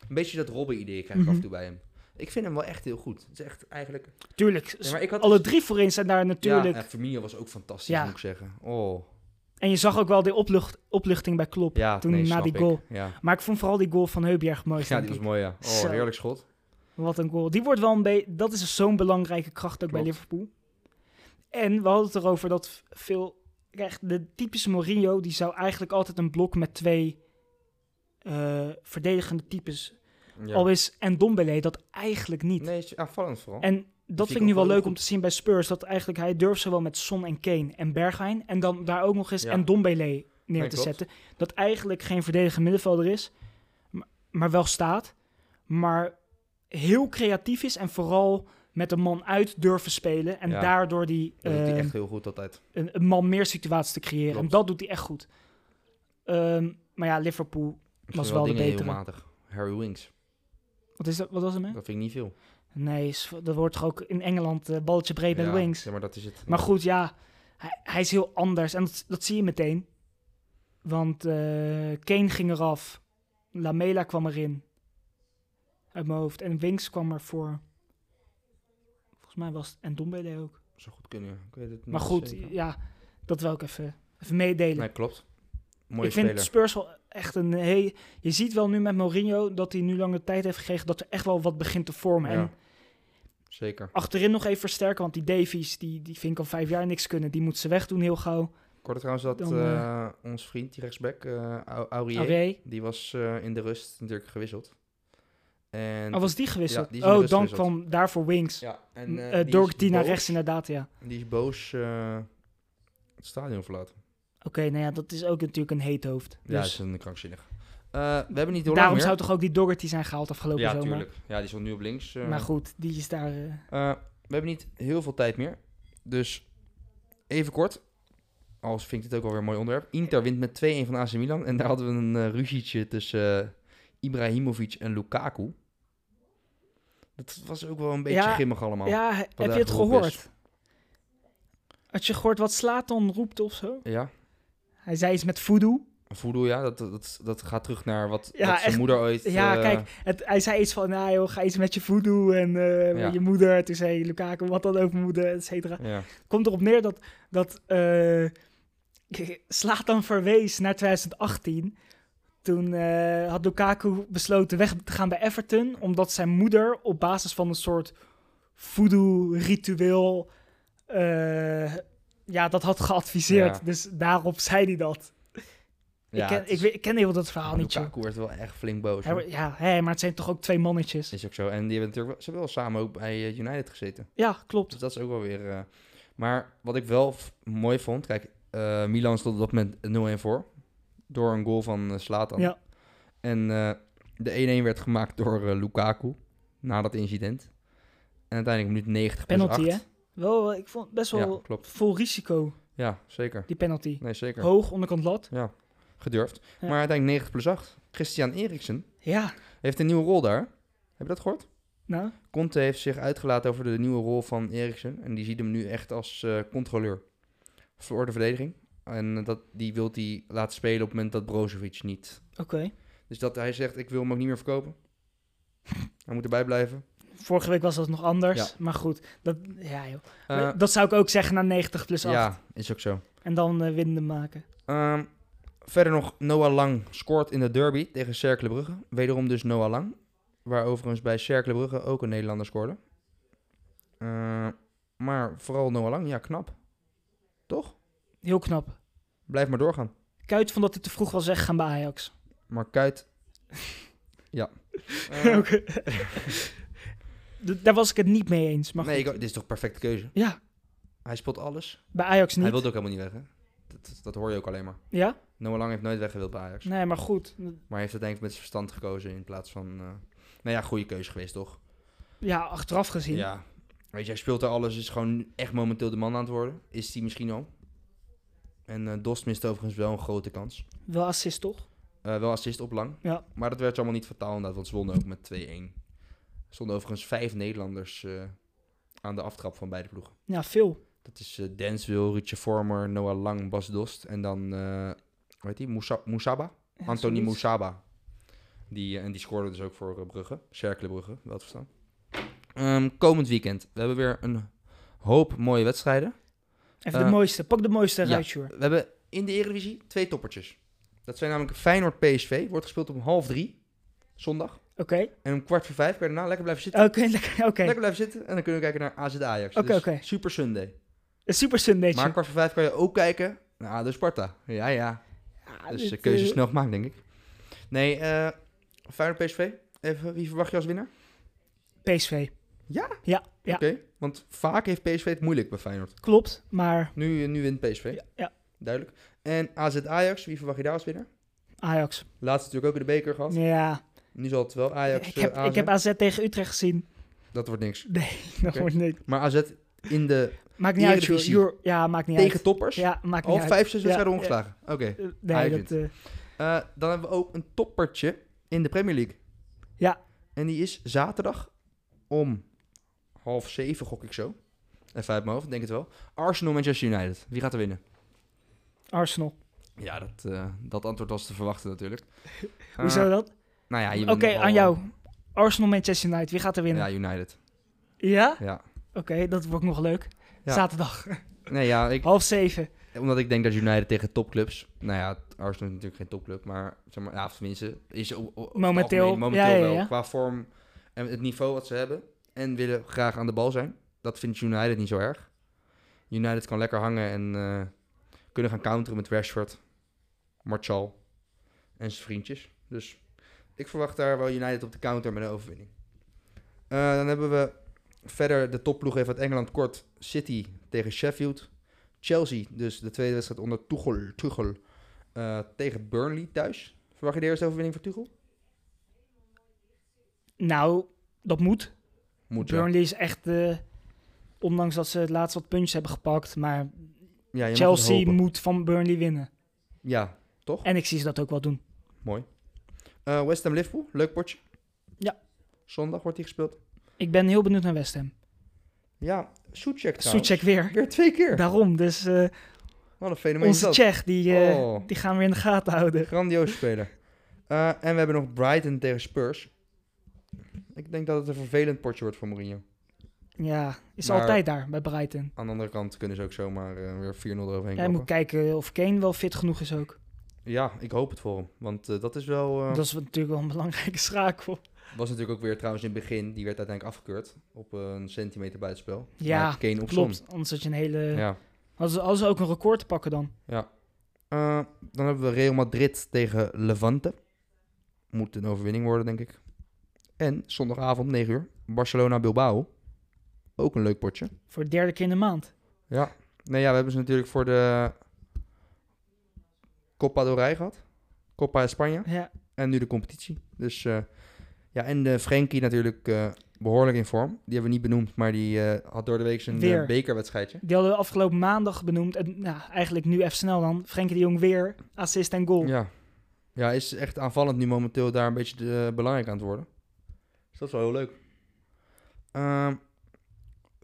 Speaker 1: een beetje dat Robben-idee krijg ik af en toe bij hem. Ik vind hem wel echt heel goed. Het is echt eigenlijk...
Speaker 2: Tuurlijk.
Speaker 1: Ja, maar ik had...
Speaker 2: Alle drie voorin zijn daar natuurlijk.
Speaker 1: Ja, en Firmino was ook fantastisch,
Speaker 2: Ja.
Speaker 1: moet ik zeggen. Oh,
Speaker 2: En je zag ook wel de oplucht, opluchting bij Klopp.
Speaker 1: ja,
Speaker 2: Toen
Speaker 1: nee,
Speaker 2: na
Speaker 1: snap
Speaker 2: die
Speaker 1: ik.
Speaker 2: goal.
Speaker 1: Ja,
Speaker 2: Maar ik vond vooral die goal van Heubjerg mooi.
Speaker 1: ja
Speaker 2: denk
Speaker 1: die was
Speaker 2: ik.
Speaker 1: mooi, ja. Oh,
Speaker 2: Zo.
Speaker 1: heerlijk schot.
Speaker 2: Wat een goal. Die wordt wel een beetje... Dat is zo'n belangrijke kracht ook bij
Speaker 1: Klopt.
Speaker 2: Liverpool. En we hadden het erover dat v- veel... Kijk, de typische Mourinho, die zou eigenlijk altijd een blok met twee eh, verdedigende types.
Speaker 1: Ja.
Speaker 2: Al is en Dombele dat eigenlijk niet.
Speaker 1: Nee, is aanvallend vooral.
Speaker 2: En dat
Speaker 1: ik
Speaker 2: vind ik nu
Speaker 1: ook wel
Speaker 2: wel leuk
Speaker 1: goed.
Speaker 2: om te zien bij Spurs. Dat eigenlijk hij durft zowel met Son en Kane en Bergwijn. En dan daar ook nog eens
Speaker 1: Ja.
Speaker 2: en Dombele neer
Speaker 1: Nee,
Speaker 2: te
Speaker 1: klopt.
Speaker 2: zetten. Dat eigenlijk geen verdedigende middenvelder is. Maar, maar wel staat. Maar heel creatief is. En vooral met een man uit durven spelen. En
Speaker 1: Ja.
Speaker 2: daardoor die,
Speaker 1: dat doet hij
Speaker 2: eh,
Speaker 1: echt heel goed altijd.
Speaker 2: een, een man meer situaties te creëren.
Speaker 1: Klopt.
Speaker 2: En dat doet hij echt goed. Ehm, maar ja, Liverpool.
Speaker 1: Ik
Speaker 2: was
Speaker 1: vind
Speaker 2: wel de
Speaker 1: dingen
Speaker 2: betere.
Speaker 1: heel matig. Harry Winks,
Speaker 2: Wat, is dat, wat was hem? Hè?
Speaker 1: dat vind ik niet veel.
Speaker 2: Nee, is- dat wordt toch ook in Engeland eh, balletje breed bij
Speaker 1: ja,
Speaker 2: de wings.
Speaker 1: Ja, maar dat is het.
Speaker 2: Maar goed, ja, hij, hij is heel anders. En dat, dat zie je meteen. Want eh, Kane ging eraf. Lamela kwam erin. Uit mijn hoofd. En Winks kwam ervoor. Volgens mij was het... En Dombele ook.
Speaker 1: Zou goed kunnen, ja. ik weet het niet
Speaker 2: Maar goed,
Speaker 1: zeker.
Speaker 2: ja, dat wil ik even, even meedelen.
Speaker 1: Nee, klopt. Mooie
Speaker 2: ik
Speaker 1: speler.
Speaker 2: vind Spurs wel echt een... Hey, je ziet wel nu met Mourinho dat hij nu langer tijd heeft gekregen... dat er echt wel wat begint te vormen. En
Speaker 1: Ja. Zeker.
Speaker 2: achterin nog even versterken, want die Davies... Die, die vind ik al vijf jaar niks kunnen. Die moet ze wegdoen heel gauw.
Speaker 1: Ik hoorde trouwens dat
Speaker 2: Dan, eh,
Speaker 1: eh, ons vriend, die rechtsback, eh Au- Aurier,
Speaker 2: Array.
Speaker 1: Die was eh, in de rust natuurlijk gewisseld. En,
Speaker 2: Oh, was die gewisseld?
Speaker 1: Ja, die is in de
Speaker 2: oh,
Speaker 1: rust
Speaker 2: dan
Speaker 1: gewisseld.
Speaker 2: kwam daarvoor Wings.
Speaker 1: ja, en,
Speaker 2: Mm,
Speaker 1: eh,
Speaker 2: eh,
Speaker 1: die is
Speaker 2: Doherty naar
Speaker 1: boos-
Speaker 2: rechts inderdaad, ja.
Speaker 1: Die is boos eh, het stadion verlaten.
Speaker 2: Oké, nou ja, dat is ook natuurlijk een heet hoofd.
Speaker 1: Ja, dat
Speaker 2: Dus
Speaker 1: is een krankzinnig. Eh, we hebben niet door
Speaker 2: daarom
Speaker 1: meer.
Speaker 2: zou toch ook die Doherty zijn gehaald afgelopen
Speaker 1: Ja,
Speaker 2: zomer.
Speaker 1: tuurlijk. Ja, die stond nu op links. eh.
Speaker 2: Maar goed, die is daar... eh,
Speaker 1: Eh, we hebben niet heel veel tijd meer. Dus even kort. Als vind ik dit ook alweer een mooi onderwerp. Inter wint met 2-1 van AC Milan. En daar hadden we een eh, ruzietje tussen eh, Ibrahimovic en Lukaku. Dat was ook wel een beetje
Speaker 2: Ja,
Speaker 1: grimmig allemaal.
Speaker 2: ja, he- heb je het
Speaker 1: geroepen
Speaker 2: gehoord?
Speaker 1: is.
Speaker 2: Had je gehoord wat Slatan roept of zo?
Speaker 1: ja.
Speaker 2: Hij zei iets met voodoo.
Speaker 1: Voodoo, ja, dat, dat, dat gaat terug naar wat,
Speaker 2: Ja,
Speaker 1: wat zijn
Speaker 2: echt.
Speaker 1: moeder ooit...
Speaker 2: Ja,
Speaker 1: eh,
Speaker 2: kijk, het, hij zei iets van, nou joh, ga iets met je voodoo en eh,
Speaker 1: Ja.
Speaker 2: je moeder. Toen zei Lukaku, wat dan ook moeder, et cetera.
Speaker 1: Ja,
Speaker 2: komt erop neer dat, dat eh, Zlatan verwees naar 2018. Toen eh, had Lukaku besloten weg te gaan bij Everton, omdat zijn moeder op basis van een soort voodoo-ritueel eh, ja, dat had geadviseerd.
Speaker 1: Ja.
Speaker 2: Dus daarop zei hij dat.
Speaker 1: ja,
Speaker 2: ik, ken,
Speaker 1: het
Speaker 2: ik,
Speaker 1: is-
Speaker 2: weet- ik ken heel dat verhaal
Speaker 1: maar
Speaker 2: niet, joh.
Speaker 1: Lukaku werd wel echt flink boos.
Speaker 2: Hij
Speaker 1: hoor.
Speaker 2: wordt- Ja, hè, maar het zijn toch ook twee mannetjes.
Speaker 1: Is ook zo. En die hebben natuurlijk wel, ze hebben wel samen ook bij eh, United gezeten.
Speaker 2: Ja, klopt.
Speaker 1: Dus dat is ook wel weer... eh, maar wat ik wel f- mooi vond... Kijk, eh, Milan stond op dat moment 0-1 voor. Door een goal van eh, Zlatan.
Speaker 2: Ja.
Speaker 1: En eh, de 1-1 werd gemaakt door eh, Lukaku. Na dat incident. En uiteindelijk minuut 90 plus
Speaker 2: Penalty, hè?
Speaker 1: Dus acht.
Speaker 2: Wel, eh, ik vond best wel
Speaker 1: Ja, klopt.
Speaker 2: vol risico,
Speaker 1: Ja, zeker.
Speaker 2: die penalty.
Speaker 1: Nee, zeker.
Speaker 2: Hoog, onderkant lat.
Speaker 1: Gedurfd.
Speaker 2: Ja.
Speaker 1: Maar uiteindelijk 90 plus 8. Christian Eriksen
Speaker 2: Ja,
Speaker 1: heeft een nieuwe rol daar. Heb je dat gehoord?
Speaker 2: nou...
Speaker 1: Conte heeft zich uitgelaten over de nieuwe rol van Eriksen. En die ziet hem nu echt als eh, controleur. Voor de verdediging. Eh, En dat, die wil hij laten spelen op het moment dat Brozovic niet.
Speaker 2: Oké.
Speaker 1: Dus dat hij zegt, ik wil hem ook niet meer verkopen. Hij moet erbij blijven.
Speaker 2: Vorige week was dat nog anders.
Speaker 1: Ja.
Speaker 2: Maar goed, dat, ja, joh.
Speaker 1: Eh,
Speaker 2: dat zou ik ook zeggen na 90 plus 8.
Speaker 1: ja, is ook zo.
Speaker 2: En dan eh winnen maken.
Speaker 1: Ehm, verder nog, Noah Lang scoort in de derby tegen Cercle Brugge. Wederom dus Noah Lang. Waar overigens bij Cercle Brugge ook een Nederlander scoorde. Eh, maar vooral Noah Lang, ja knap. Toch?
Speaker 2: Heel knap.
Speaker 1: Blijf maar doorgaan.
Speaker 2: Kuit vond dat hij te vroeg was weggegaan bij Ajax.
Speaker 1: Maar Kuit... ja. Eh,
Speaker 2: Oké. D- Daar was ik het niet mee eens. Maar
Speaker 1: nee,
Speaker 2: goed.
Speaker 1: ik- dit is toch perfecte keuze.
Speaker 2: Ja,
Speaker 1: Hij spot alles.
Speaker 2: bij Ajax niet.
Speaker 1: Hij wilde ook helemaal niet weg, hè? Dat, dat, dat hoor je ook alleen maar.
Speaker 2: Ja?
Speaker 1: Noah Lang heeft nooit weggewild bij Ajax.
Speaker 2: Nee, maar goed.
Speaker 1: Maar hij heeft het denk ik met zijn verstand gekozen in plaats van... eh, nou ja, goede keuze geweest, toch?
Speaker 2: Ja, achteraf gezien.
Speaker 1: Ja. Weet je, hij speelt er alles. Is gewoon echt momenteel de man aan het worden. Is hij misschien al. En eh, Dost miste overigens wel een grote kans.
Speaker 2: Wel assist, toch?
Speaker 1: Eh, wel assist op lang.
Speaker 2: Ja.
Speaker 1: Maar dat werd allemaal niet fataal inderdaad, want ze wonnen ook met 2-1. Er stonden overigens vijf Nederlanders eh, aan de aftrap van beide ploegen.
Speaker 2: Ja, veel.
Speaker 1: Dat is eh Denswil, Richie Vormer, Noah Lang, Bas Dost en dan, eh hoe heet die, Moussa- Moussaba?
Speaker 2: Ja,
Speaker 1: Anthony
Speaker 2: zoiets.
Speaker 1: Moussaba. Die, eh, en die scoorde dus ook voor eh, Brugge, Cercle Brugge, wel te verstaan. Ehm, komend weekend, we hebben weer een hoop mooie wedstrijden.
Speaker 2: Even
Speaker 1: Eh,
Speaker 2: de mooiste. Pak de mooiste eruit,
Speaker 1: ja.
Speaker 2: Sjoerd.
Speaker 1: We hebben in de Eredivisie twee toppertjes. Dat zijn namelijk Feyenoord-PSV, wordt gespeeld om half drie, zondag.
Speaker 2: Oké.
Speaker 1: En om kwart voor vijf kan je daarna lekker blijven zitten.
Speaker 2: Oké, lekker. Oké.
Speaker 1: Lekker blijven zitten en dan kunnen we kijken naar AZ Ajax.
Speaker 2: Oké,
Speaker 1: dus
Speaker 2: oké.
Speaker 1: Super Sunday.
Speaker 2: Een super Sunday.
Speaker 1: Maar kwart voor vijf kan je ook kijken naar ADO Sparta. Ja, ja. Dus de keuze is
Speaker 2: eh,
Speaker 1: snel gemaakt, denk ik. Nee, eh Feyenoord PSV. Even, wie verwacht je als winnaar?
Speaker 2: PSV.
Speaker 1: Ja?
Speaker 2: Ja, ja.
Speaker 1: Oké, want vaak heeft PSV het moeilijk bij Feyenoord.
Speaker 2: klopt. Maar
Speaker 1: Nu, nu wint PSV,
Speaker 2: ja, ja,
Speaker 1: duidelijk. En AZ Ajax, wie verwacht je daar als winnaar?
Speaker 2: Ajax.
Speaker 1: Laatst natuurlijk ook in de beker gehad.
Speaker 2: Ja.
Speaker 1: Nu zal het wel Ajax,
Speaker 2: ik, heb,
Speaker 1: eh, AZ.
Speaker 2: ik heb AZ tegen Utrecht gezien.
Speaker 1: Dat wordt niks.
Speaker 2: Dat
Speaker 1: Oké.
Speaker 2: wordt niet.
Speaker 1: Maar AZ in de
Speaker 2: Maakt niet uit, Sjoerd.
Speaker 1: Eredivisie.
Speaker 2: Sjoerd. Ja, maakt niet uit.
Speaker 1: tegen toppers.
Speaker 2: Ja, maakt
Speaker 1: Al
Speaker 2: niet uit.
Speaker 1: vijf, zes
Speaker 2: Ja,
Speaker 1: wedstrijden
Speaker 2: ja.
Speaker 1: ongeslagen. Oké.
Speaker 2: Eh, Nee,
Speaker 1: Ajax
Speaker 2: dat, eh,
Speaker 1: Eh, dan hebben we ook een toppertje in de Premier League.
Speaker 2: Ja.
Speaker 1: En die is zaterdag om half zeven, gok ik zo. Even uit mijn hoofd, denk het wel. Arsenal Manchester United. Wie gaat er winnen?
Speaker 2: Arsenal.
Speaker 1: Ja, dat, eh, dat antwoord was te verwachten natuurlijk.
Speaker 2: Hoezo
Speaker 1: Eh,
Speaker 2: dat?
Speaker 1: nou ja, je
Speaker 2: Oké,
Speaker 1: bent nogal-
Speaker 2: aan jou. Arsenal, Manchester United. Wie gaat er winnen?
Speaker 1: Ja,
Speaker 2: Ja?
Speaker 1: United. Ja.
Speaker 2: Oké, dat wordt nog leuk.
Speaker 1: Ja.
Speaker 2: Zaterdag,
Speaker 1: Nee, ja, ik,
Speaker 2: half zeven.
Speaker 1: omdat ik denk dat United tegen topclubs... Nou ja, Arsenal is natuurlijk geen topclub, maar... Zeg maar ja, of tenminste, is o- o- over het
Speaker 2: Momenteel,
Speaker 1: algemeen momenteel
Speaker 2: ja, ja,
Speaker 1: wel.
Speaker 2: ja.
Speaker 1: Qua vorm en het niveau wat ze hebben. En willen graag aan de bal zijn. Dat vindt United niet zo erg. United kan lekker hangen en eh, kunnen gaan counteren met Rashford, Martial en zijn vriendjes. Dus ik verwacht daar wel United op de counter met een overwinning. Eh, dan hebben we verder de topploeg even uit Engeland kort. City tegen Sheffield. Chelsea, dus de tweede wedstrijd onder Tuchel, Tuchel eh, tegen Burnley thuis. Verwacht je de eerste overwinning voor Tuchel?
Speaker 2: Nou, dat moet.
Speaker 1: Moet ja.
Speaker 2: Burnley is echt, eh, ondanks dat ze het laatst wat puntjes hebben gepakt, maar
Speaker 1: Ja, je mag het
Speaker 2: Chelsea
Speaker 1: hopen.
Speaker 2: moet van Burnley winnen.
Speaker 1: Ja,
Speaker 2: En ik zie ze dat ook wel doen.
Speaker 1: mooi. Eh, West Ham Liverpool, leuk potje.
Speaker 2: Ja.
Speaker 1: Zondag wordt die gespeeld.
Speaker 2: Ik ben heel benieuwd naar West Ham.
Speaker 1: Ja, Soetjek trouwens.
Speaker 2: Soetjek weer.
Speaker 1: Weer twee keer.
Speaker 2: Daarom, dus eh,
Speaker 1: Wat een fenomeen is
Speaker 2: onze
Speaker 1: dat.
Speaker 2: Tsjech, die, eh,
Speaker 1: Oh.
Speaker 2: die gaan we in de gaten houden.
Speaker 1: Grandioos speler. Eh, en we hebben nog Brighton tegen Spurs. Ik denk dat het een vervelend potje wordt voor Mourinho.
Speaker 2: Ja, is
Speaker 1: Maar-
Speaker 2: altijd daar bij Brighton.
Speaker 1: Aan de andere kant kunnen ze ook zomaar eh, weer 4-0 eroverheen
Speaker 2: Jij moet
Speaker 1: komen.
Speaker 2: kijken of Kane wel fit genoeg is ook.
Speaker 1: Ja, ik hoop het voor hem. Want eh, dat is wel... eh,
Speaker 2: Dat is natuurlijk wel een belangrijke schakel.
Speaker 1: Was natuurlijk ook weer trouwens in het begin. Die werd uiteindelijk afgekeurd. Op een centimeter buitenspel.
Speaker 2: Ja,
Speaker 1: Maar Kane op
Speaker 2: Klopt, anders had je een hele...
Speaker 1: zon. Ja.
Speaker 2: Hadden, ze, hadden ze ook een record te pakken dan.
Speaker 1: Eh, dan hebben we Real Madrid tegen Levante. Moet een overwinning worden, denk ik. En zondagavond, 9 uur, Barcelona-Bilbao. Ook een leuk potje.
Speaker 2: Voor de derde keer in de maand.
Speaker 1: Ja. Nee, ja, we hebben ze natuurlijk voor de Copa del Rey gehad. Copa España.
Speaker 2: Ja,
Speaker 1: En nu de competitie. Dus eh, ja, en de Frenkie natuurlijk eh, behoorlijk in vorm. Die hebben we niet benoemd, maar die eh, had door de week zijn eh,
Speaker 2: Weer.
Speaker 1: bekerwedstrijdje.
Speaker 2: die hadden we afgelopen maandag benoemd. En nou, eigenlijk nu even snel dan. Frenkie de Jong weer, assist en goal.
Speaker 1: Ja. ja, is echt aanvallend nu momenteel daar een beetje eh, belangrijk aan het worden. Dus dat is wel heel leuk. Ehm,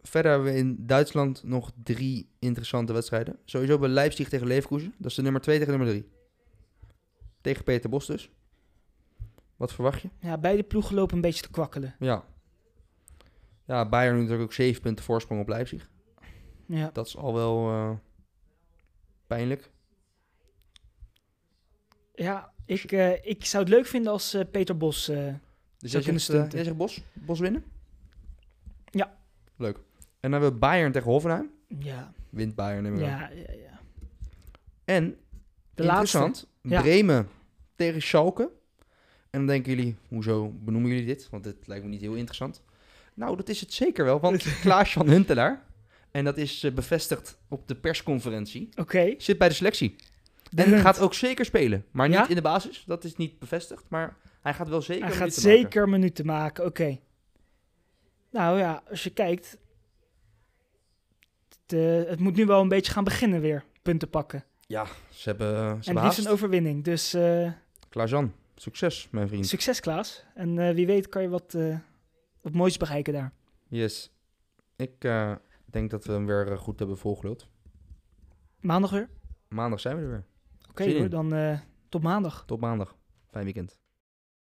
Speaker 1: verder hebben we in Duitsland nog drie interessante wedstrijden. Sowieso bij Leipzig tegen Leverkusen. Dat is de nummer 2 tegen nummer 3. Tegen Peter Bos dus. Wat verwacht je?
Speaker 2: Ja, beide ploegen lopen een beetje te kwakkelen.
Speaker 1: Ja. Ja, Bayern nu natuurlijk ook 7 punten voorsprong op Leipzig.
Speaker 2: Ja.
Speaker 1: Dat is al wel eh, pijnlijk.
Speaker 2: Ja, ik, eh, ik zou het leuk vinden als eh, Peter Bos... eh,
Speaker 1: Dus jij
Speaker 2: Zou kunnen
Speaker 1: zegt, eh,
Speaker 2: stunten.
Speaker 1: jij zegt Bos? Bos winnen?
Speaker 2: Ja.
Speaker 1: Leuk. En dan hebben we Bayern tegen Hoffenheim.
Speaker 2: ja,
Speaker 1: Wint Bayern, neem ik aan.
Speaker 2: ja, ja, ja.
Speaker 1: En,
Speaker 2: De laatste.
Speaker 1: interessant,
Speaker 2: Ja.
Speaker 1: Bremen tegen Schalke. En dan denken jullie, hoezo benoemen jullie dit? Want dit lijkt me niet heel interessant. Nou, dat is het zeker wel, want Klaas van Huntelaar... en dat is eh, bevestigd op de persconferentie...
Speaker 2: Oké.
Speaker 1: zit bij de selectie.
Speaker 2: De
Speaker 1: En
Speaker 2: Hunt.
Speaker 1: gaat ook zeker spelen. Maar niet
Speaker 2: Ja?
Speaker 1: in de basis. Dat is niet bevestigd. Maar hij gaat wel zeker.
Speaker 2: Hij gaat
Speaker 1: minuten maken.
Speaker 2: zeker minuten maken, oké. Nou ja, als je kijkt... Het, eh, het moet nu wel een beetje gaan beginnen weer, punten pakken.
Speaker 1: Ze hebben, eh, ze
Speaker 2: en
Speaker 1: hebben
Speaker 2: het liefst een
Speaker 1: haast.
Speaker 2: overwinning, dus... eh,
Speaker 1: Klaas-Jan, succes, mijn vriend.
Speaker 2: Succes, Klaas. En eh, wie weet kan je wat, eh, wat moois bereiken daar.
Speaker 1: Yes. Ik eh, denk dat we hem weer eh, goed hebben volgeluld.
Speaker 2: Maandag weer?
Speaker 1: Maandag zijn we er weer.
Speaker 2: Oké
Speaker 1: Zin in.
Speaker 2: hoor, dan eh, tot maandag.
Speaker 1: Tot maandag. Fijn weekend.